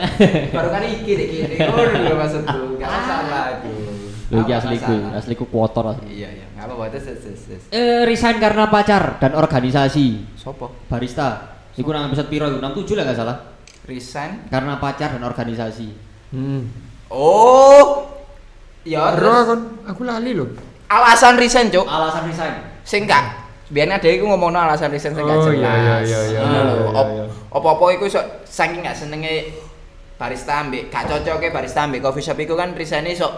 baru kan iki dek kiri. Ngono lho maksudku. Gak masalah aku.
Lho iki
Gak
asli ku,
masalah.
asli ku kotor asli.
Iya iya, gak apa-apa. Terus terus terus, terus.
Eh resign karena pacar dan organisasi.
Sopo?
Barista. Iku nang episode piro iku? 67 lah gak salah.
Resign.
Karena pacar dan organisasi.
hmm.
Oh. Ya
Ero
terus.
aku aku lali lo
Alasan resign, Cuk.
Alasan resign.
Sing gak biar ada iku ngomongno alasan resign sing gak
Oh,
jelas.
iya, iya, iya, iya,
Ngono lho.
iya,
Op-
iya.
Apa-apa iku iso saking gak senenge barista ambek gak cocoke barista ambek coffee shop iku kan resign iso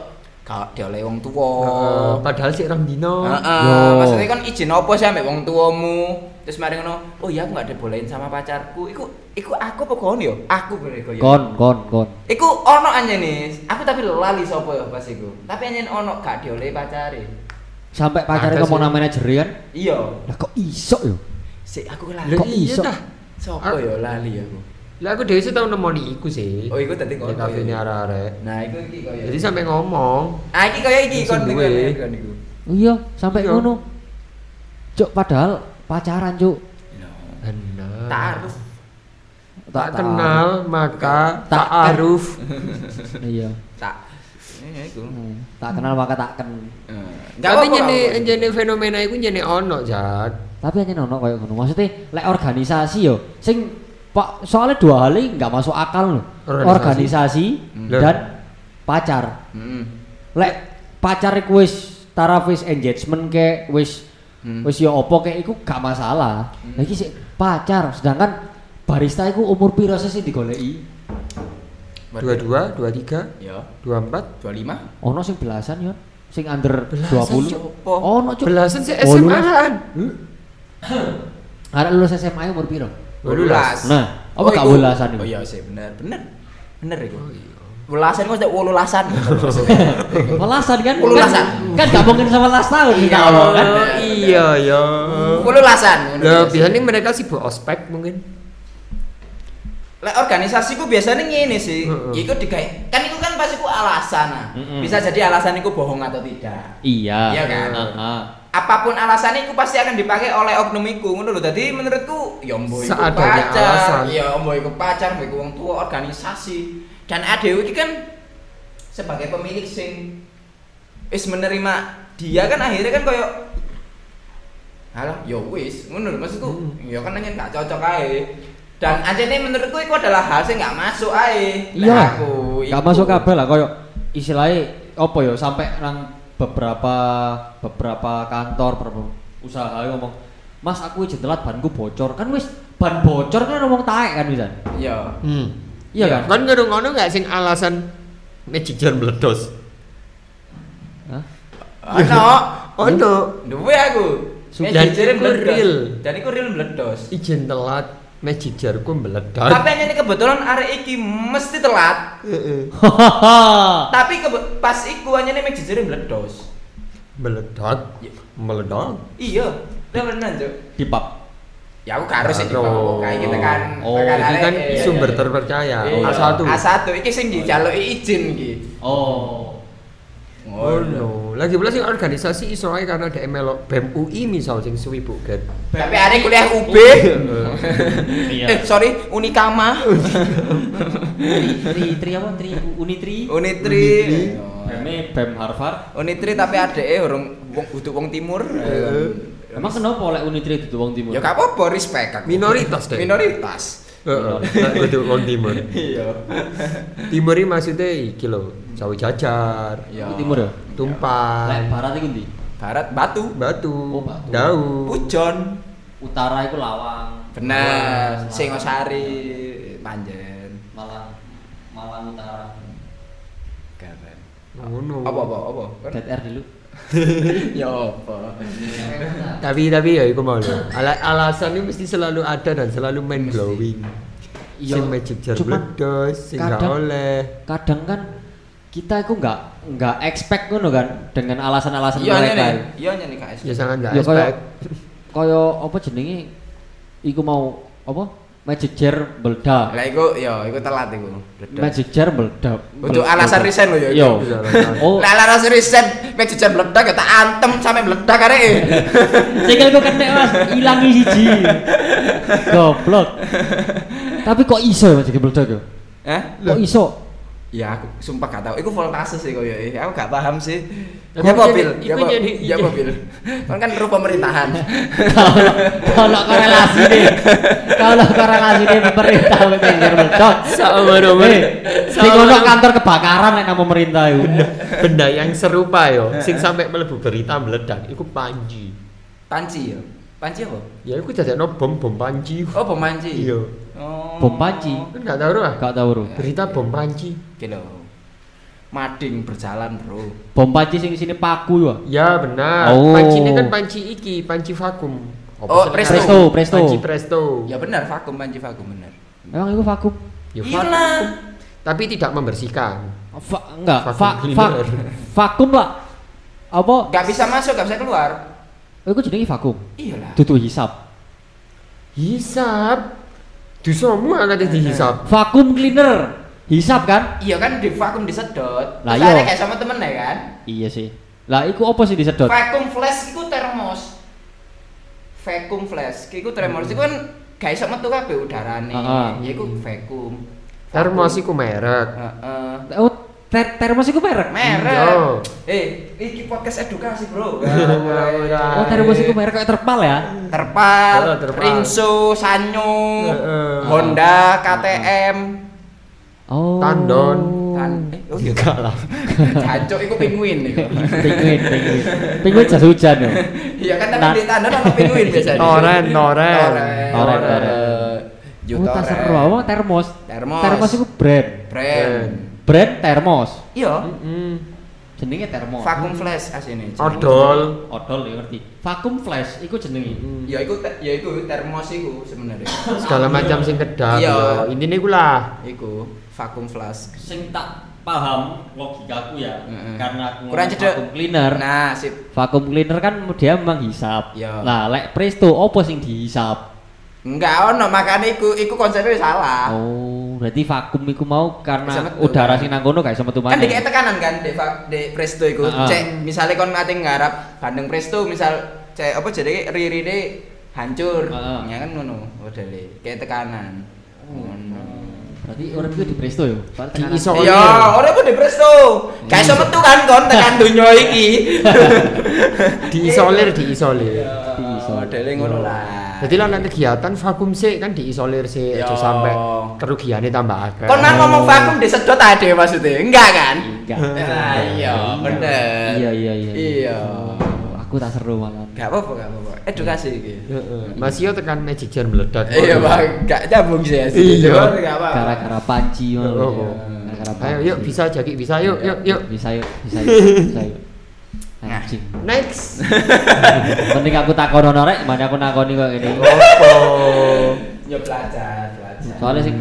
gak dioleh wong tuwa.
Eh, padahal sih orang dino
Heeh,
Yo.
maksudnya kan izin apa sih ambek wong tuamu? Terus mari ngono, oh iya aku gak dibolehin sama pacarku. Iku iku aku apa kon yo? Aku boleh koyo.
Kon, kon, kon.
Iku ono anjene. Aku tapi lali sapa ya pas iku. Tapi anjen ono gak diolehi pacare.
Sampai pacarnya
Ada
ngomong
sih.
nang manajer kan.
Iya.
Lah kok iso yo?
Sik aku
Lho,
lali.
Kok
iya
iso?
dah.
Sopo
Aku-
yo lali aku.
lah aku dewi sih tau nemoni iku sih
Oh, iku tadi
di
ngono.
kafe ini arah-arah
Nah, iku iki koyo.
jadi sampai ngomong
Ah, iki koyo iki kon iku,
Sing duwe.
iku, iku.
Iya, sampai
Iya.
ngono. Cuk, padahal pacaran, Cuk.
Nah. benar
Taaruf.
tak kenal maka tak aruf
tahu. Iya.
Tak. Iya iku.
Hmm, Tak kenal maka tak ken.
Gak
tapi
apa-apa,
jene
gak apa-apa.
jene fenomena iku jene ono jad
Tapi hanya ono kayak ngono. Maksudnya lek organisasi yo sing Pak soalnya dua hal ini nggak masuk akal loh.
Organisasi.
Organisasi
Hmm.
dan pacar.
Heeh.
Lek pacar iku wis taraf wis engagement ke wis
Hmm.
wis yo opo ke iku gak masalah.
Hmm.
Lah iki sik pacar sedangkan barista iku umur piro sih sing digoleki?
dua dua dua tiga
Ya.
dua empat
25.
Ono sing belasan yo, sing under
Belasan,
20.
Cuk.
Apa?
Ono cuk.
belasan sih
Wolu-
SMA-an
Hmm? Arek lulus SMA -nya umur piro?
Oh,
Wolulas.
Nah, apa gak
iku-
welasan iku?
Oh iya sih bener, bener. Bener iku. Welasan kok tidak wolulasan.
Welasan kan?
Welasan.
Kan gak mungkin sama last tahun kita
Iya.
ngomong kan.
Oh, iya ya.
Wolulasan.
Lah biasanya mereka sibuk ospek mungkin.
Lek organisasi ku biasanya ngene sih.
Heeh.
Iku digawe. Kan iku kan pasti ku alasan. ah.
Mm-mm.
Bisa jadi alasan iku bohong atau tidak.
Iya.
Iya kan?
Heeh.
Apapun alasannya iku pasti akan dipakai oleh oknum iku ngono lho. Dadi menurutku ya mbo iku
Seadanya alasan.
pacar. Ya mbo iku pacar, mbo iku wong tua organisasi. Dan ADW iki kan sebagai pemilik sing wis menerima dia kan akhirnya kan koyo Alah, ya wis, ngono lho maksudku.
Hmm.
Ya kan nanya gak cocok ae. Dan anjene menurutku itu adalah hal sing gak masuk ae. Lah,
Iya.
aku
Gak
iku.
masuk kabel lah koyo istilahnya apa ya sampai nang beberapa beberapa kantor beberapa usaha ngomong Mas aku wis telat banku bocor kan wis ban bocor kan ngomong taek kan wisan.
Iya.
Hmm.
Iya
Iya.
kan?
Kan ngono ngono nggak sing alasan magic jar meledos.
Hah?
Ono.
Ono
Duwe aku.
Sudah.
Dan jere
Iku real.
meledos. Dan iku real meledos.
izin telat magic jarku meledak.
Tapi hanya ini kebetulan arek iki mesti telat.
Heeh.
Tapi kebe- pas iku hanya ini magic jere meledos.
meledak.
Ya.
Meledak.
Iya. Lah beneran, Cuk.
Di pub.
Ya aku gak harus sih
Karo.
dipakok kayak gitu kan.
Oh,
Tekan
Jadi
arek,
kan
iya, iya,
sumber
iya.
terpercaya.
Iya.
A1.
A1 iki sing dijaluki izin iki.
Oh.
Oh no. Lagi pula sing organisasi iso ae karena ada melok BEM UI misal sing suwi buket.
Tapi arek kuliah UB. Eh,
Iya.
sorry, Unikama.
Tri tri apa? Tri Unitri.
Unitri.
Ini BEM Harvard.
Unitri tapi adeke urung wong butuh wong timur.
Emang kenapa oleh Unitri itu wong timur?
Eh, Ya gak apa-apa, respect aku.
Minoritas, Dek.
Minoritas.
Heeh. Nah, Betul wong timur.
Iya.
Timur iki maksudnya iki lho, sawi jajar,
Iya.
Itu timur ya? Lek
tumpan,
barat iku ndi?
Barat Batu,
batu,
Iya. Oh, Batu.
daun.
Pujon.
Utara iku Lawang.
Bener,
Lawang,
Singosari, Panjen.
Malang. Malang Utara.
Keren.
Ngono.
Apa apa apa? Kan?
DTR dulu.
Ya apa?
Tapi tapi ya iku mau. lho. Ala alasan itu mesti selalu ada dan selalu main
Mesti.
glowing.
Iya.
Sing magic jar
Cuman
meledos, sing gak
kadang-
oleh.
kadang kan kita itu nggak nggak expect ngono kan dengan alasan-alasan
Iya
mereka.
nih, iya nih KS.
Ya sangat gak
Ya kaya
expect.
kaya apa jenenge iku mau apa? Magic Jar meledak.
Lah iku ya iku telat iku.
Magic Jar meledak.
Untuk alasan
meledak.
resign lo ya Iya. iku.
Yo.
Bisa, alasan.
Oh,
Lah alasan resign, mek jajan meledak kita antem sampai meledak arek.
Cekel kok kena mas, hilang siji. Goblok. Tapi kok iso ya mas cekel meledak ya?
Hah?
Kok iso?
Ya aku sumpah gak tahu. Iku voltase sih koyo iki. Aku gak paham sih.
Ya,
Ya
iku
mobil,
jadi-
ya
iku
mobil,
jadi-
ya mobil. Kan kan ru pemerintahan.
Kalau korelasi nih, kalau korelasi nih pemerintah cekel meledak.
Sabar-sabar.
Eh, Di kono kantor kebakaran nek nang pemerintah itu.
benda yang serupa yo sing sampai melebu berita meledak iku panji
Panci ya. Panci apa?
ya iku dadekno bom bom panji
Oh, bom panci.
iya
Oh.
Bom panci.
kan gak tahu lah
Gak tau bro.
berita bom panji
Kilo. Mading berjalan, Bro.
Bom panci sing sini paku ya.
ya benar
Oh.
panci ini kan panci iki panci vakum Apa
Oh,
sih?
presto.
Presto, presto.
panci presto
Ya benar vakum panci vakum benar.
Emang itu vakum?
Iya
Ya, vakum.
lah.
tapi tidak membersihkan
Va enggak,
Vakum
va va
cleaner.
vakum lah. Apa?
Gak bisa masuk, gak bisa keluar. Iya
Iku jenenge vakum.
Iyalah.
Dudu hisap.
hisap di semua ada dihisap
Vakum cleaner. Hisap kan?
Iya kan di vakum disedot. Lah
Lah, iya.
iya. kayak sama temen ya kan.
Iya sih. Lah iku apa sih disedot?
Vakum flash itu termos. Vakum flash itu termos. Itu kan gak iso metu kabeh udarane.
Heeh.
Ya iku vakum.
termos iku merek
Heeh.
Oh, ter termos iku merek.
Iya.
Merek. Eh, iki podcast edukasi, Bro.
Ora-ora.
Oh, termos
iya.
iku merek kayak terpal ya.
Oh,
Terpal,
terpal.
Rinso, Sanyo,
Heeh.
Honda, KTM,
Oh.
Tandon.
kan eh oh iya kalah. Jancuk iku penguin iku.
Penguin, penguin. Penguin jas hujan ya.
Iya kan
Nah.
tapi di tandon ono penguin biasanya.
Toren, toren.
Toren. Eh,
Toren, toren.
Yo
Oh, tak seru
toren.
apa? Termos.
Termos.
Termos iku brand.
Brand.
Brand termos.
Iya,
Mm-mm.
Jenenge Eh, termos.
vakum flash asine.
odol
Odol ya ngerti. Vakum flash iku jenenge.
Ya iku te- ya iku termos iku sebenarnya.
segala macam sing kedap
Iya.
ya. intinya iku lah
Iku vakum flash.
Sing tak paham logikaku ya
Heeh.
karena aku
Kurang
ngomong
cedek.
vacuum cleaner
Nah, sip.
vacuum cleaner kan dia memang hisap
Iya.
nah lek presto opo sing dihisap
Enggak ono makane iku iku konsepnya salah.
oh berarti vakum iku
Ah.
mau
Bisa
karena
metu,
udara
kan?
sing nang kono gak iso metu
Kan
maneh.
dikek tekanan kan di di presto iku.
Heeh.
Cek misale kon ngate nggarap bandeng presto misal cek apa jadi ririne hancur.
Heeh.
Ya kan ngono modele. Kayak tekanan. Ngono.
berarti orang itu di presto yo
Di iso- Soalnya-
Iya, ora ku di presto. Kayak iso metu kan kon tekan donya iki.
diisolir diisolir
iso.
Modele ngono lah.
jadi lah nek kegiatan vakum sih kan diisolir sih aja
Yo.
sampai kerugiannya tambah akeh
Kon nang ngomong vakum disedot ade maksudnya. Enggak kan?
enggak
Nah, Ah, iya, bener.
iya iya iya
Iya.
Oh, aku tak seru malah
Enggak apa-apa, enggak apa-apa. Edukasi iki.
Iya.
Heeh. Mas Yo tekan magic jar meledak
Iya, Bang. Enggak nyambung sih ya.
Iya.
Cuman enggak apa-apa.
gara-gara panci malah
Oh.
ya. Gara-gara
ayo
panci.
yuk bisa jadi bisa yuk yuk yuk
bisa yuk bisa yuk bisa yuk anjing
next
mending aku takon ono rek mana aku nakoni kok ini
Oh. opo
Ya pelajar, pelajar.
soalnya sing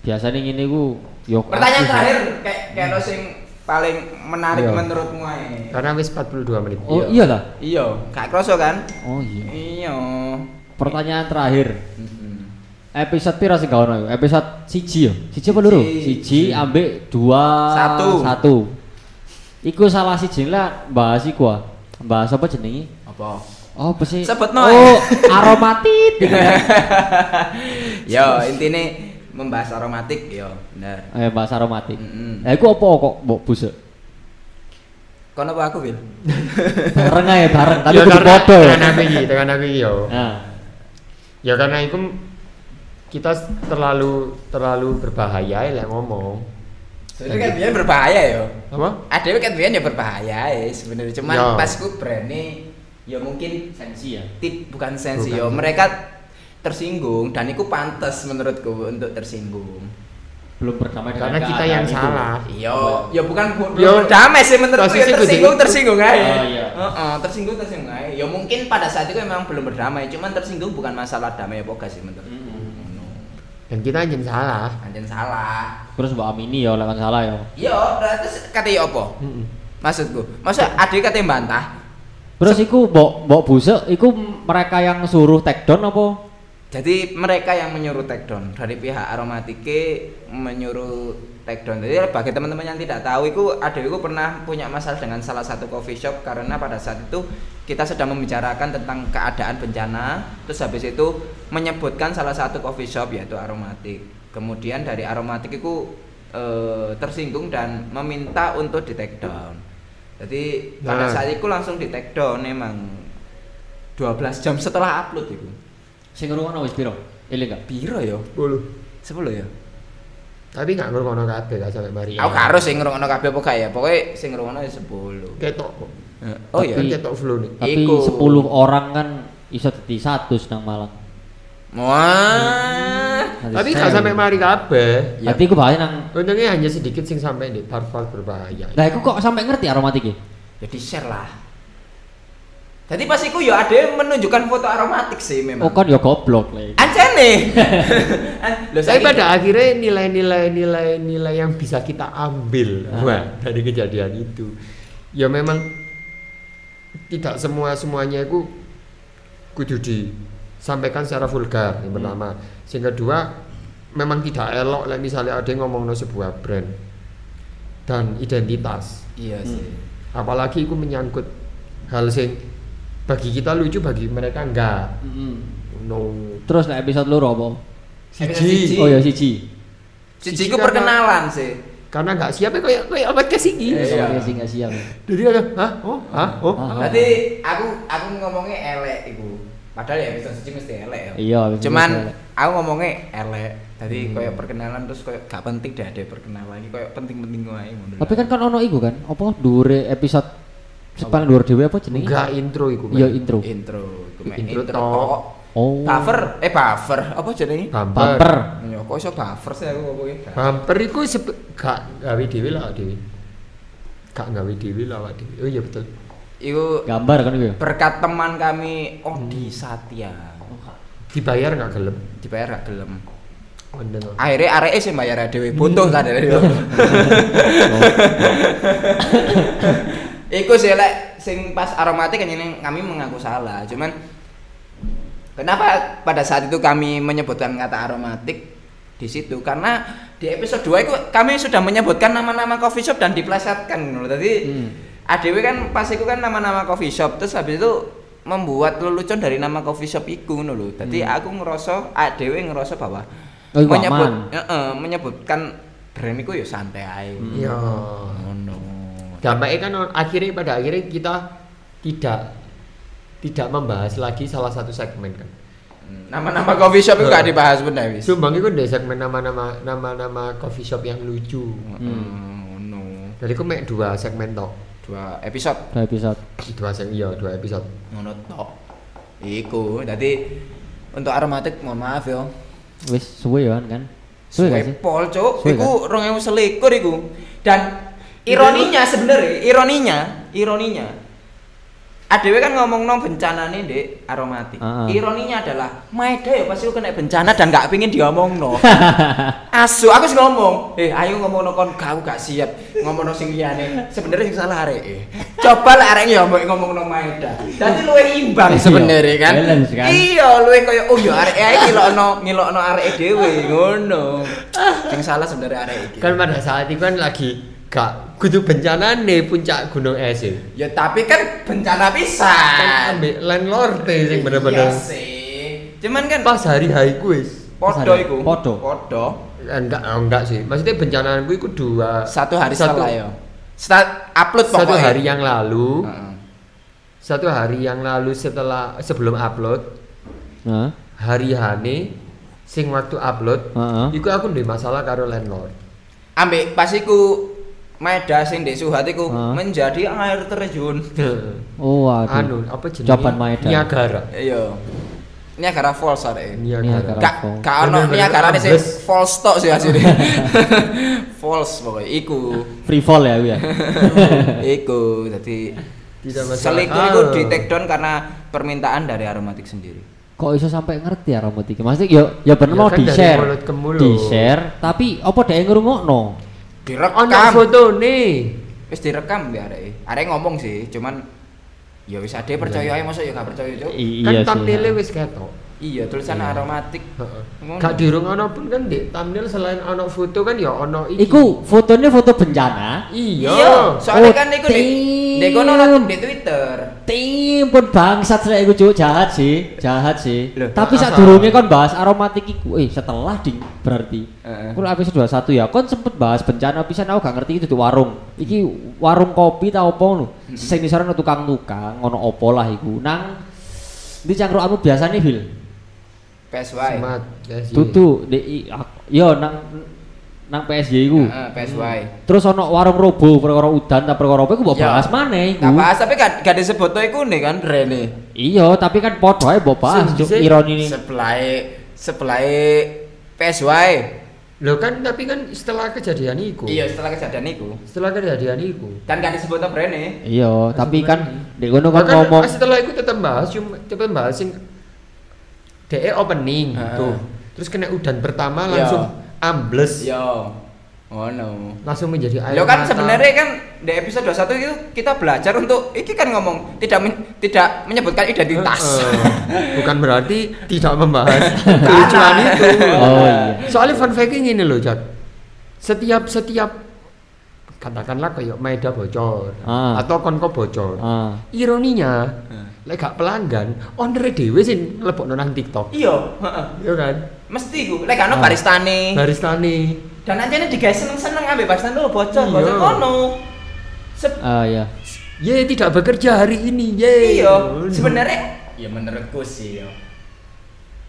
biasanya ngene ku yo
Pertanyaan terakhir kayak kayak lo sing paling menarik
Iya.
menurutmu ae.
karena wis 42 menit
oh iya lah
Iya, gak kroso kan?
oh iya
Iya.
pertanyaan terakhir episode piro sing gak ono iku? episode siji yo siji apa loro
Siji.
siji ambek dua
Satu.
satu iku salah siji lah bahas iku ah. bahas apa jenenge
Apa?
Oh, apa sih?
Sebutno
Oh, aromatit. gitu ya.
Yo, Iya, intine membahas aromatik yo, bener.
Eh, bahas aromatik.
Hmm.
Mm-mm.
Ya, iku apa kok mbok busuk?
Kono apa aku, Bil?
Bareng aja bareng, tapi
Ya,
kudu
karena-
podo.
karena aku iki tekan aku iki yo
Nah,
ya karena itu kita terlalu terlalu berbahaya ya lek ngomong
Sebenarnya kan biyen berbahaya yo.
apa
Ada kan biyen ya berbahaya ya sebenarnya. Cuman
Yo.
pas ku brandnya ya mungkin
sensi ya.
tip bukan sensi
Bukan.
yo. Mereka tersinggung dan itu pantas menurutku untuk tersinggung.
Belum berdamai dengan
karena kita yang
Nah,
keadaan itu.
salah
Yo, yo bukan bu-
Yo,
belum damai sih menurutku
posisi
ya
kudu
tersinggung
itu.
tersinggung aja.
Oh, iya.
Heeh, tersinggung tersinggung aja. Yo mungkin pada saat itu memang belum berdamai, cuman tersinggung bukan masalah damai apa enggak sih menurutku.
Mm-mm.
Ngono.
dan kita yang salah
Anjen salah.
Terus mbok amini ya lawan salah ya.
Yo, terus kata yo apa?
Mm-mm.
Maksudku, maksud adik kata bantah.
Terus iku mbok mbok busuk, iku mereka yang suruh take down apa?
Jadi mereka yang menyuruh take down dari pihak aromatike menyuruh take down. Jadi bagi teman-teman yang tidak tahu, itu ada itu pernah punya masalah dengan salah satu coffee shop karena pada saat itu kita sedang membicarakan tentang keadaan bencana. Terus habis itu menyebutkan salah satu coffee shop yaitu aromatik. Kemudian dari aromatik itu eh, tersinggung dan meminta untuk di take down. Jadi pada
Nah.
saat itu langsung di take down emang 12 jam setelah upload itu.
Sing ngrungokno wis piro? Eling gak?
Piro ya?
Bulu.
10 ya?
tapi nggak ngurung kabeh gak sampai mari
Iya. Aku gak harus sing ngrungokno kabeh apa gak ya? Pokoke sing ngrungokno ya 10.
ketok kok.
Oh iya.
kan ketok flu nih
Tapi
Iku.
10 orang kan iso dadi 100 nang Malang.
Wah.
tapi gak sampai mari kabeh
Ya.
Tapi iku bahas nang
untungnya hanya sedikit sing sampai di part-part berbahaya
Lah iku kok sampai ngerti aromatik ya?
Ya di-share lah. Jadi pas iku ya ada yang menunjukkan foto aromatik sih memang.
Oh kan ya goblok lah. iku.
Ancene. An- Loh,
tapi
saiki-
pada akhirnya nilai-nilai nilai-nilai yang bisa kita ambil wah, dari kejadian itu ya memang tidak semua semuanya itu kudu disampaikan secara vulgar yang pertama yang kedua memang tidak elok lah misalnya ada yang ngomong sebuah brand dan identitas
Iya sih.
Hmm.
apalagi itu menyangkut hal sing bagi kita lucu bagi mereka enggak no
Terus nek episode loro apa?
Siji.
Oh ya siji.
Cici
Siji
iku
karena-
perkenalan sih.
karena nggak siap ya kayak kayak podcast ini
Iya.
Iya, sing gak siap.
Jadi ada, hah? Oh, hah?
Ah.
Oh, hah?
Berarti aku aku ngomongnya elek iku. Padahal ya episode siji mesti elek ya.
Iya, episode
Cuman
elek. Hmm.
aku ngomongnya elek. Tadi koyo perkenalan terus koyo gak penting dah ada perkenalan lagi koyo penting-penting wae ngono.
Tapi kan kan ono iku kan, apa dure episode sepan dure dhewe apa jenenge?
Enggak intro iku.
Iya intro.
intro, iku mek
Intro
intro,
tok.
tok.
Oh.
Buffer, eh buffer, apa jenenge?
Bumper.
Bumper.
Ya kok iso buffer sih aku ngomongnya gak.
Bumper iku sebe- gak gawe dhewe lah awak dhewe. Gak gawe dhewe lah awak dhewe. Oh iya betul.
Iku
Gambar kan iku ya.
berkat teman kami Odi Satya.
Oh, Dibayar nggak gelem.
Dibayar gak gelem.
Wondel.
akhirnya areke sing bayar dhewe butuh kan ta dhewe Iku sih lek sing pas aromatik kan ini kami mengaku salah. Cuman kenapa pada saat itu kami menyebutkan kata aromatik di situ karena di episode 2 itu kami sudah menyebutkan nama-nama coffee shop dan diplesetkan gitu loh. Tadi ADW kan pas itu kan nama-nama coffee shop terus habis itu membuat lelucon dari nama coffee shop iku ngono lho. Dadi aku ngerasa ADW ngerasa bahwa
Oh, iku aman.
Heeh, menyebutkan brand iku ya santai ae.
Hmm.
Ya.
Ngono.
Dampaknya kan akhirnya pada akhirnya kita tidak tidak membahas lagi salah satu segmen kan.
Nama-nama coffee shop itu gak dibahas benar wis.
Sumbang itu dari segmen nama-nama nama-nama coffee shop yang lucu.
Hmm. No.
Jadi aku mek dua segmen tok.
Dua episode
Udah episode.
Dua segmen iya, dua episode.
ngono tok. Iku. Jadi untuk aromatik mohon maaf yo.
Wis suwe ya kan? Suwe gak sih?
Pol, Cuk.
Suwe
Iku 2021 iku. Dan ironinya sebenarnya, ironinya, ironinya. Adewe kan ngomong no bencana nih dek aromatik.
Ah.
Ironinya adalah, maeda ya pasti aku kena bencana dan gak pingin diomong no. Asu, aku sih ngomong, eh ayo ngomong no kon kau gak siap ngomong no sing liyane. Sebenarnya sing salah arek. e. Coba lah arek ya mbok ngomong no maeda. Dadi luwe imbang
Iya,
sebenarnya kan.
balance kan.
Iya, luwe koyo oh ya arek ae ngilokno ngilokno arek e dhewe ngono. Sing salah sebenarnya arek iki.
Kan pada saat itu kan lagi gak kudu bencana nih puncak gunung es ya.
Ya tapi kan bencana
Kan
pisan.
ambek landlord deh sing bener-bener.
Iya sih. Cuman kan
Pas hari hari kuis.
podo iku.
Podo.
Podo.
Enggak, oh, enggak sih. Maksudnya bencana gue itu dua
Satu hari
satu, ya.
salah yo. Start upload pokoknya. Hmm.
Satu hari yang lalu,
Heeh.
satu hari yang lalu setelah sebelum upload
Heeh.
hari Hane sing waktu upload,
Heeh.
Hmm.
itu aku ndek masalah karo landlord.
ambek pas iku Meda sing di Suhat iku
Hah?
menjadi air terjun.
Oh, waduh.
anu apa jenenge?
Coban Maeda.
Niagara.
Iya. Niagara Falls arek.
Niagara.
Niagara.
Gak
Falls.
gak ono
Bener-bener
Niagara sing
ambles.
false tok sih asline. false pokoknya iku.
Free fall ya aku ya.
Iku dadi
Tidak masalah. Ah.
selingkuh itu di take down karena permintaan dari aromatik sendiri.
Kok iso sampai ngerti ya robot iki? Maksudnya ya ya bener
Ya
mau
kan dari
di-share.
mulut ke mulut.
Di-share, tapi apa dhek ngrungokno?
Ono
Direkam.
foto nih.
Wis direkam ya arek. Arek ngomong sih, cuman ya wis ade percaya ae masa ya gak percaya, Cuk.
I-
Kan
Iya
thumbnail
sih.
wis ketok.
Iya, tulisan aromatik.
Heeh.
Ngono.
Gak dirung ono pun kan di thumbnail selain ono foto kan ya ono iki.
Iku fotonya foto bencana.
Iya.
Iya, soalnya
Oh,
kan iku di
damn.
di kono nonton di Twitter.
Tim pun bangsat sih iku Cuk. jahat sih, jahat sih.
Loh,
Tapi
masa?
saat durungnya kon bahas aromatik iku, eh setelah ding berarti.
Heeh.
Kurang episode 21 ya, kon sempet bahas bencana pisan aku gak ngerti itu di warung. Iki warung kopi ta opo ngono.
Mm-hmm.
Sing isore ono tukang-tukang, ngono opo lah iku. Nang di cangkruanmu biasanya Bil.
PSY.
Smart. yes, iya.
Tutu di ak- yo nang nang PSJ iku.
Heeh, PSY.
Terus ono warung robo perkara udan ta perkara apa iku mbok
Ya.
bahas maneh iku.
Gak bahas tapi gak, gak disebut tuh iku nih kan Rene.
Iya, tapi kan podo ae mbok bahas Cuk,
Sing dhisik-
ironi ini.
Sebelai sebelai PSY.
Loh kan tapi kan setelah kejadian iku.
Iya setelah kejadian iku.
Setelah kejadian iku.
Kan gak disebut tuh Rene.
Iya, tapi kan di kono
Nah,
kan
kan
ngomong
setelah itu tetap bahas cuma tetap bahas sing DE opening
Ah.
tuh. Terus kena udan pertama
Iya.
langsung ambles.
Yo. Oh no.
Langsung menjadi air
Lo kan
mata.
sebenarnya kan di episode 21 itu kita belajar untuk iki kan ngomong tidak men- tidak menyebutkan identitas.
Heeh. Eh, Bukan berarti tidak membahas kelucuan itu.
Oh, iya.
Soalnya fun fact ini loh, Jack. Setiap setiap katakanlah kayak Maeda bocor
Ah.
atau Konko bocor.
Ah.
Ironinya, lek gak pelanggan, owner dhewe sing mlebokno nang TikTok.
iya, heeh.
Iya kan?
Mesti ku lek ana
Eh.
baristane.
Baristane.
Dan anjane digawe seneng-seneng ambek baristane lo bocor, bocor
Iya.
kono. Sep
Ah ya.
Ye tidak bekerja hari ini. Ye.
iya sebenarnya ya menurutku sih yo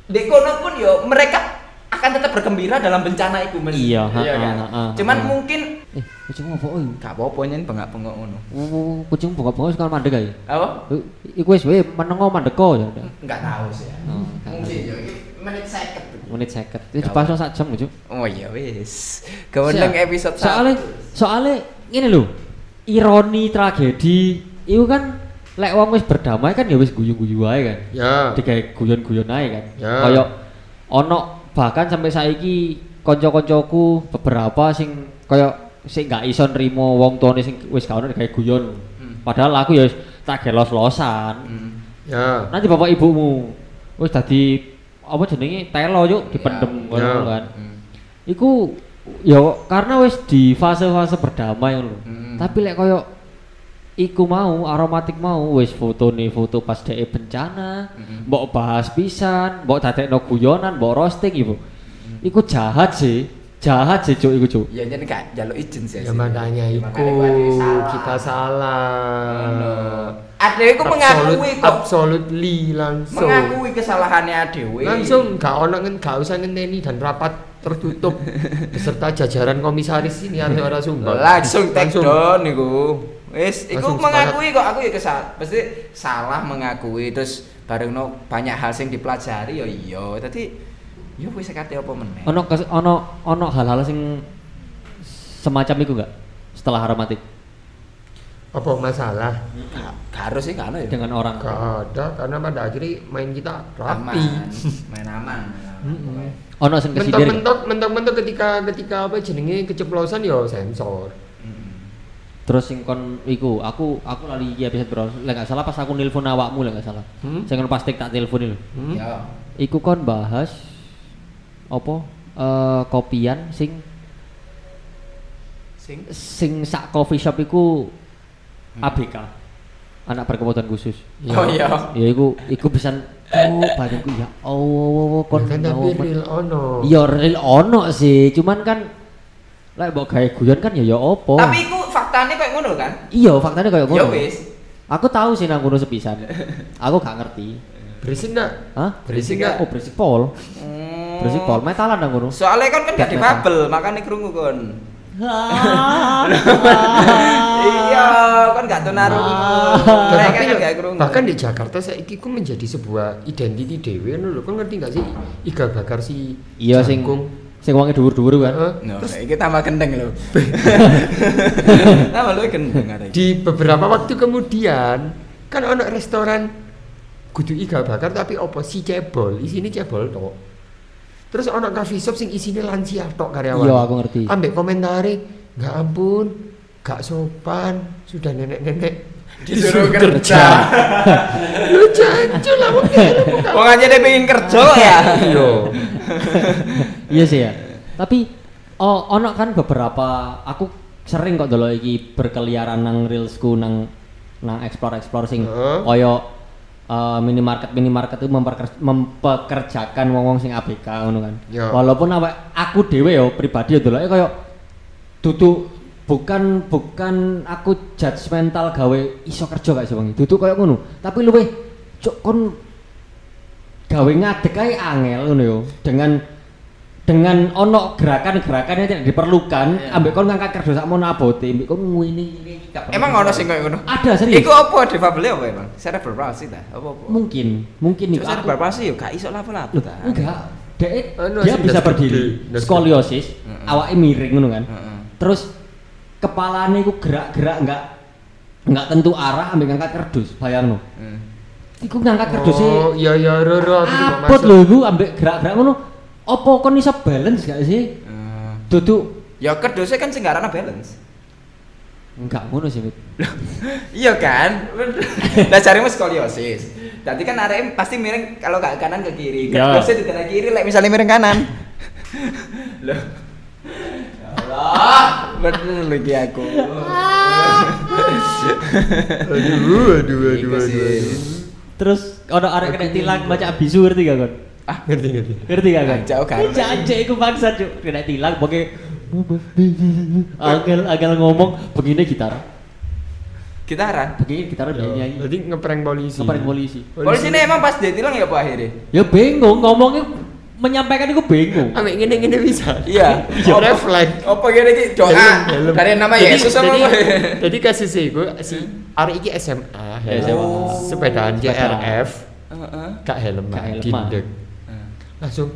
di kono pun yo mereka akan tetap bergembira dalam bencana itu men
Iya, ha,
kan?
ha, ha, ha,
cuman
ha.
mungkin
Eh, kucing apa iki?
gak apa-apa nyen bengak bengok ngono
Oh, kucing bengok-bengok suka mandek ae.
apa
Eh, Iku wis we menengo mandeko ya. udah.
nggak tahu sih ya
Oh, gak
mungkin yo ini menit seket
Menit 50. Itu dibahas sak jam Cuk.
oh iya wis kewenang episode satu.
soalnya soalnya ini loh ironi tragedi itu kan lek wong wis berdamai kan ya wis guyu-guyu ae kan
Ya.
digawe guyon-guyon ae kan
Ya.
Kayak ono bahkan sampai saiki kanca-kancaku beberapa sing kaya sing gak iso nrimo wong tuane sing wis gak ono kayak guyon.
Hmm.
Padahal aku ya wis tak gelos-losan.
Hmm.
Ya.
Nanti bapak ibumu wis dadi apa jenenge telo yuk dipendem
Ya.
ngono
Ya.
kan.
Hmm.
Iku ya karena wis di fase-fase berdamai lho.
Hmm.
Tapi lek koyo iku mau aromatik mau wis fotone foto pas dhek bencana,
Hmm.
mbok bahas pisan, mbok dadekno guyonan, mbok roasting ibu.
Hmm.
Iku jahat sih. Jahat sih cuk iku cuk.
Ya nyen gak njaluk izin sih.
Ya makanya iku kita
Iya,
eh, salah.
Adewe ku mengakui kok.
absolutely langsung.
Mengakui kesalahannya adewe.
Langsung gak ono ngen gak usah ngenteni dan rapat tertutup beserta jajaran komisaris ini Arya Sumba.
langsung take down niku. Wis, iku
Langsung
mengakui kok aku ya kesal. Pasti salah mengakui terus bareng no banyak hal sing dipelajari ya iya. Tadi yo wis kate apa meneh.
Ono kes- ono ono hal-hal sing semacam iku enggak setelah aromatik
Apa masalah?
Gak gak harus sih gak ono ya.
dengan orang.
Gak ada karena pada akhirnya main kita
aman,
rapi.
main aman.
Mm-mm.
Ono sing kesidir. gak?
Mentok-mentok mentok-mentok ketika ketika apa jenenge keceplosan ya
Oh
sensor.
Mm-mm.
Terus sing kon iku, aku aku lali iki episode bro. Lah gak salah pas aku nelpon awakmu lah gak salah.
Hmm?
Sing kon pasti tak telepon lho.
Hmm?
Yo.
Iku kon bahas apa eh kopian sing
Sing
sing sak coffee shop iku
Hmm.
ABK. Anak berkebutuhan khusus.
Oh iya.
Ya iku iku pisan oh badanku ya Allah kon
Kon Iya. kan tapi
nyawa men-
real ono.
Ya real ono sih, cuman kan lek mbok gawe guyon kan ya ya apa.
Tapi iku faktanya kayak ngono kan?
iya faktanya kayak
Ya
ngono.
wis.
Aku tahu sih nang kono sepisan. Aku gak ngerti.
Berisik enggak?
Hah?
Berisik Oh.
Berisik
enggak?
Oh, berisik pol.
Hmm.
Berisik pol metalan nang kono.
Soalnya kan kan gak di
Batman.
bubble, makanya kerungu kon.
Ah.
Iya, kan gak tunarungu.
Nah,
Mereka
Ah. tapi
kan
lho,
gak kerungu.
bahkan di Jakarta saiki ku menjadi sebuah identiti dhewe ngono lho. Kon ngerti enggak sih iga bakar si
Iya sing
jangkung.
sing wonge dhuwur-dhuwur kan.
Heeh.
No, ini tambah gendeng lho. tambah lu gendeng arek.
Di beberapa waktu kemudian kan ono restoran kudu iga bakar tapi opo si cebol, isine cebol tok. Terus ono coffee shop sing isine lansia tok karyawan.
Iya, aku ngerti.
Ambek komentari, "Enggak ampun, gak sopan, sudah nenek-nenek
Disuruh kerja.
Lu jancul lah wong kira buka
Wong aja dia pengen kerja kok ya.
Iya.
Iya sih ya. Tapi oh, ono kan beberapa aku sering kok dulu iki berkeliaran nang reelsku nang nang explore explore sing
Heeh.
koyo eh, minimarket minimarket itu memperker- mempekerjakan wong-wong sing ABK ngono kan.
Ya.
Walaupun awak aku dhewe yo pribadi yo doloke koyo dudu bukan bukan aku judgmental gawe iso kerja gak sih Bang. Dudu koyo ngono. Tapi luweh cuk kon gawe ngadeg ae angel ngono yo dengan dengan ono gerakan-gerakan yang tidak diperlukan
Iya.
ambek kon ngangkat kerja sakmono abote ambek kon ngene ngene iki gak perlu.
Emang ono sing kayak ngono.
ada serius
Iku apa difabel apa emang? Cerebral palsy ta? Apa apa?
mungkin mungkin
Cuk,
iku aku-
Cerebral palsy yo gak iso lapo-lapo
Loh,
ta.
enggak Dek,
Anu,
dia
sing
bisa
das gede,
berdiri
das gede.
skoliosis
Mm-mm.
awake miring ngono kan
Heeh.
terus kepalanya iku gerak-gerak enggak enggak tentu arah ambek ngangkat kerdus bayangno
Heeh.
iku ngangkat kerdus sih
Oh, iya iya roro aku juga
abot
masuk.
lho iku ambek gerak-gerak ngono apa kon iso balance gak sih
Eh,
duduk
Ya kedose kan sing ngarana balance.
enggak ngono sih Mit.
Iya kan? Lah jarimu skoliosis. Berarti kan arek pasti miring kalau gak kanan ke kiri.
Ya.
Terus di kanan kiri lek misalnya miring kanan. Loh. Ya Allah, bener lagi aku.
Aduh, aduh, aduh,
Iku
aduh,
Gitu sih.
aduh.
terus ono arek kena tilang baca abisu ngerti gak kon
Ah, ngerti ngerti.
ngerti gak kan?
Jauh kan.
Ini jajak iku bangsa cuk. Kena tilang pokoknya Angel angel ngomong begini gitar.
Gitaran.
Begini gitar begini nyanyi.
Jadi ngeprank polisi.
Sampai iya, polisi.
Polisi ini emang pas dia tilang ya Pak akhirnya.
Ya bingung ngomongnya menyampaikan itu bingung.
Ambek ngene-ngene bisa.
Iya.
Iya, refleks.
Apa gini iki doa
Helm, helm.
dari nama
Jadi-
Yesus apa?
jadi,
apa?
jadi kasus iku si arek iki SMA, ya.
SMA. Sepedaan.
sepedaan JRF,
Heeh.
gak helm,
Gak helman.
dindek. Langsung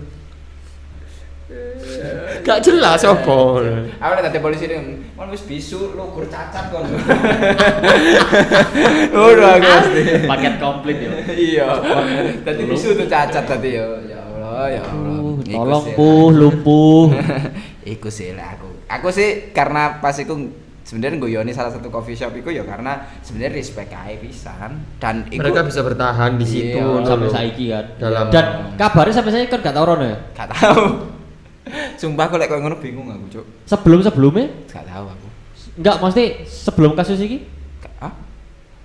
gak jelas apa.
Aku lihat ada polisi ini, kan wis bisu, lugur cacat kan. Udah aku pasti.
Paket komplit ya.
Iya. Tadi bisu tuh cacat tadi ya. Ya Allah, ya Allah.
Uh,
Iku
Tolong
sih.
puh, lumpuh.
iku sih lah aku. Aku sih karena pas iku sebenarnya guyoni salah satu coffee shop iku ya karena sebenarnya respect ae pisan dan iku
mereka bisa bertahan di situ
Iya,
ngono
sampai
lho.
saiki kan.
Dalam-
Dan kabarnya sampai saiki kan gak tau rono ya.
gak tahu. Sumpah aku lek koyo ngono bingung aku, Cuk.
Sebelum-sebelumnya
Gak tahu aku.
enggak mesti sebelum kasus ini
Gak- Hah?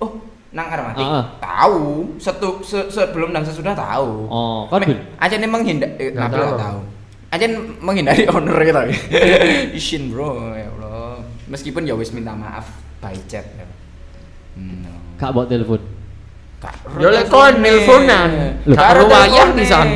Oh, nang Armati?
Ah, ah.
Tahu, setu, se- sebelum dan sesudah tahu.
Oh, kan Bil?
Aja nih menghindar, eh,
Nggak
Nabil nggak
tahu.
tahu. Aja menghindari honor kita. Isin bro, ya Allah. Meskipun ya wis minta maaf by chat ya. Hmm, no.
gak buat telepon.
Gak-
Ya lek kon nelponan,
Loh,
gak
Karo
wayah
telpone.
pisan.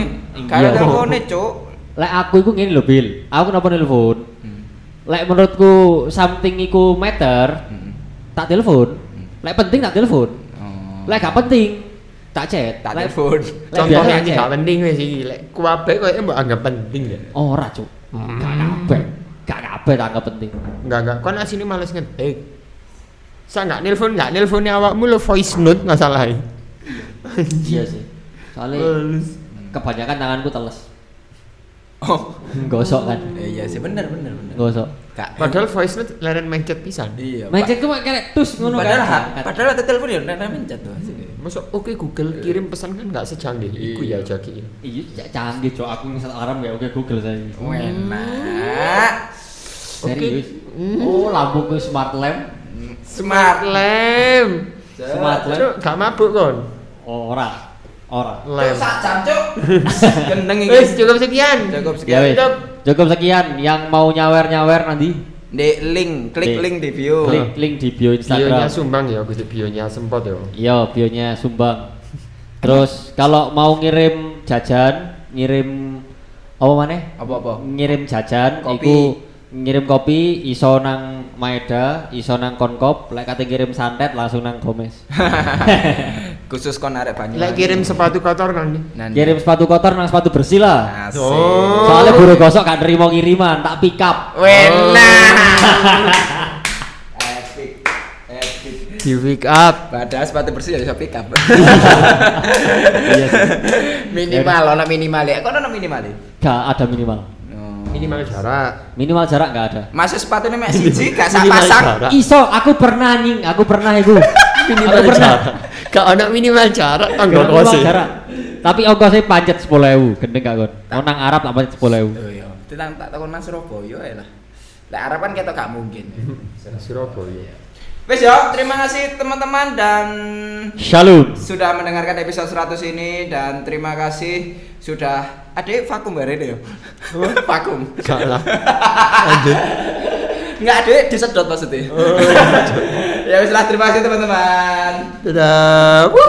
Karo
Iya.
telpone, Cuk.
Lek aku iku ngene lho, Bil. Aku kenapa telepon?
Hmm,
Lek menurutku something iku matter,
hmm,
tak telepon. Lek penting tak telepon.
hmm.
Lek gak penting tak chat.
tak
Lek-
telepon.
Lek biasa
Contohnya
tak
tidak
chat.
penting wis iki. Lek kuabe koyo mbok anggap penting ya.
Oh, Ora, Cuk. Gak
Hmm.
kabeh. Gak kabeh tak anggap penting.
Enggak enggak, kon asine males ngetik. Saya enggak nelpon, enggak nelponnya awakmu lo voice note masalahnya.
Iya sih. Soalnya
Males.
kebanyakan tanganku teles.
Oh,
Gosok kan.
eh, iya sih bener bener bener.
Gosok.
Gak-
Padahal voice note leren mencet pisan.
Iya. Pak.
Mencet cuma kayak tus ngono
padahal
kan.
ha-
Angkat.
padahal ada telepon ya nek mencet tuh sini.
Masuk oke Google kirim pesan kan enggak secanggih iku ya jaki.
Iya, cak- canggih cok. Aku ngeset alarm kayak oke Google saya.
Enak.
Serius. Oh, lambungku smart lamp.
Smart
Lem.
Smart lamp. Oh,
Cuk, gak mabuk kon.
Ora. Ora.
Lem.
Sak jam, Cuk. Gendeng iki.
Wis cukup sekian.
Cukup
Ya
sekian.
wes. Cukup sekian. Yang mau nyawer-nyawer nanti
Di link, klik
Di-
link di bio.
klik link di bio
Bionya
Instagram.
sumbang ya, Gusti bionya sempot ya.
Iya, bionya Sumbang. Terus kalau mau ngirim jajan, ngirim apa maneh?
Apa-apa?
Ngirim jajan
Kopi.
iku ngirim kopi iso nang Maeda, iso nang Konkop, lek kate ngirim santet langsung nang Gomez.
Khusus kon arek Banyuwangi.
Lek kirim sepatu kotor kan.
Nanti.
Kirim sepatu kotor nang sepatu bersih lah.
Asik.
Oh.
Soalnya guru gosok gak nerima kiriman, tak pick up.
Enak. Epic. Epic.
Di wake up.
Padahal sepatu bersih ya bisa pick up.
iya sih.
minimal, ono minimal ya. Kok ono minimal ya?
Gak ada minimal.
Minimal jarak.
Minimal jarak gak ada.
Masuk sepatunya mek siji gak sak
Minimal
pasang.
jarak.
Iso, aku pernah nying, aku pernah iku.
Minimal
Aku pernah.
jarak. Gak ada minimal jarak tangga
Gak
kose.
minimal jarak. Tapi ongkosnya pancet 10.000, gendeng gak kon. Wong nang Arab tak pancet 10.000.
Oh iya. Tenang tak takon nang Surabaya ae lah. Lah harapan kita gak mungkin.
Surabaya.
Wes yo, terima kasih teman-teman dan
Shalom.
sudah mendengarkan episode 100 ini dan terima kasih sudah Adik vakum bare ya. vakum.
Gak lah.
Enggak Adik disedot maksudnya. ya wes lah terima kasih teman-teman.
Dadah. Wuh.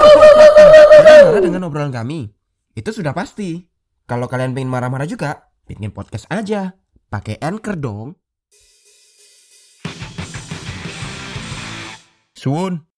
marah dengan obrolan kami? Itu sudah pasti. Kalau kalian pengen marah-marah juga, bikin podcast aja. Pakai Anchor dong. Suun.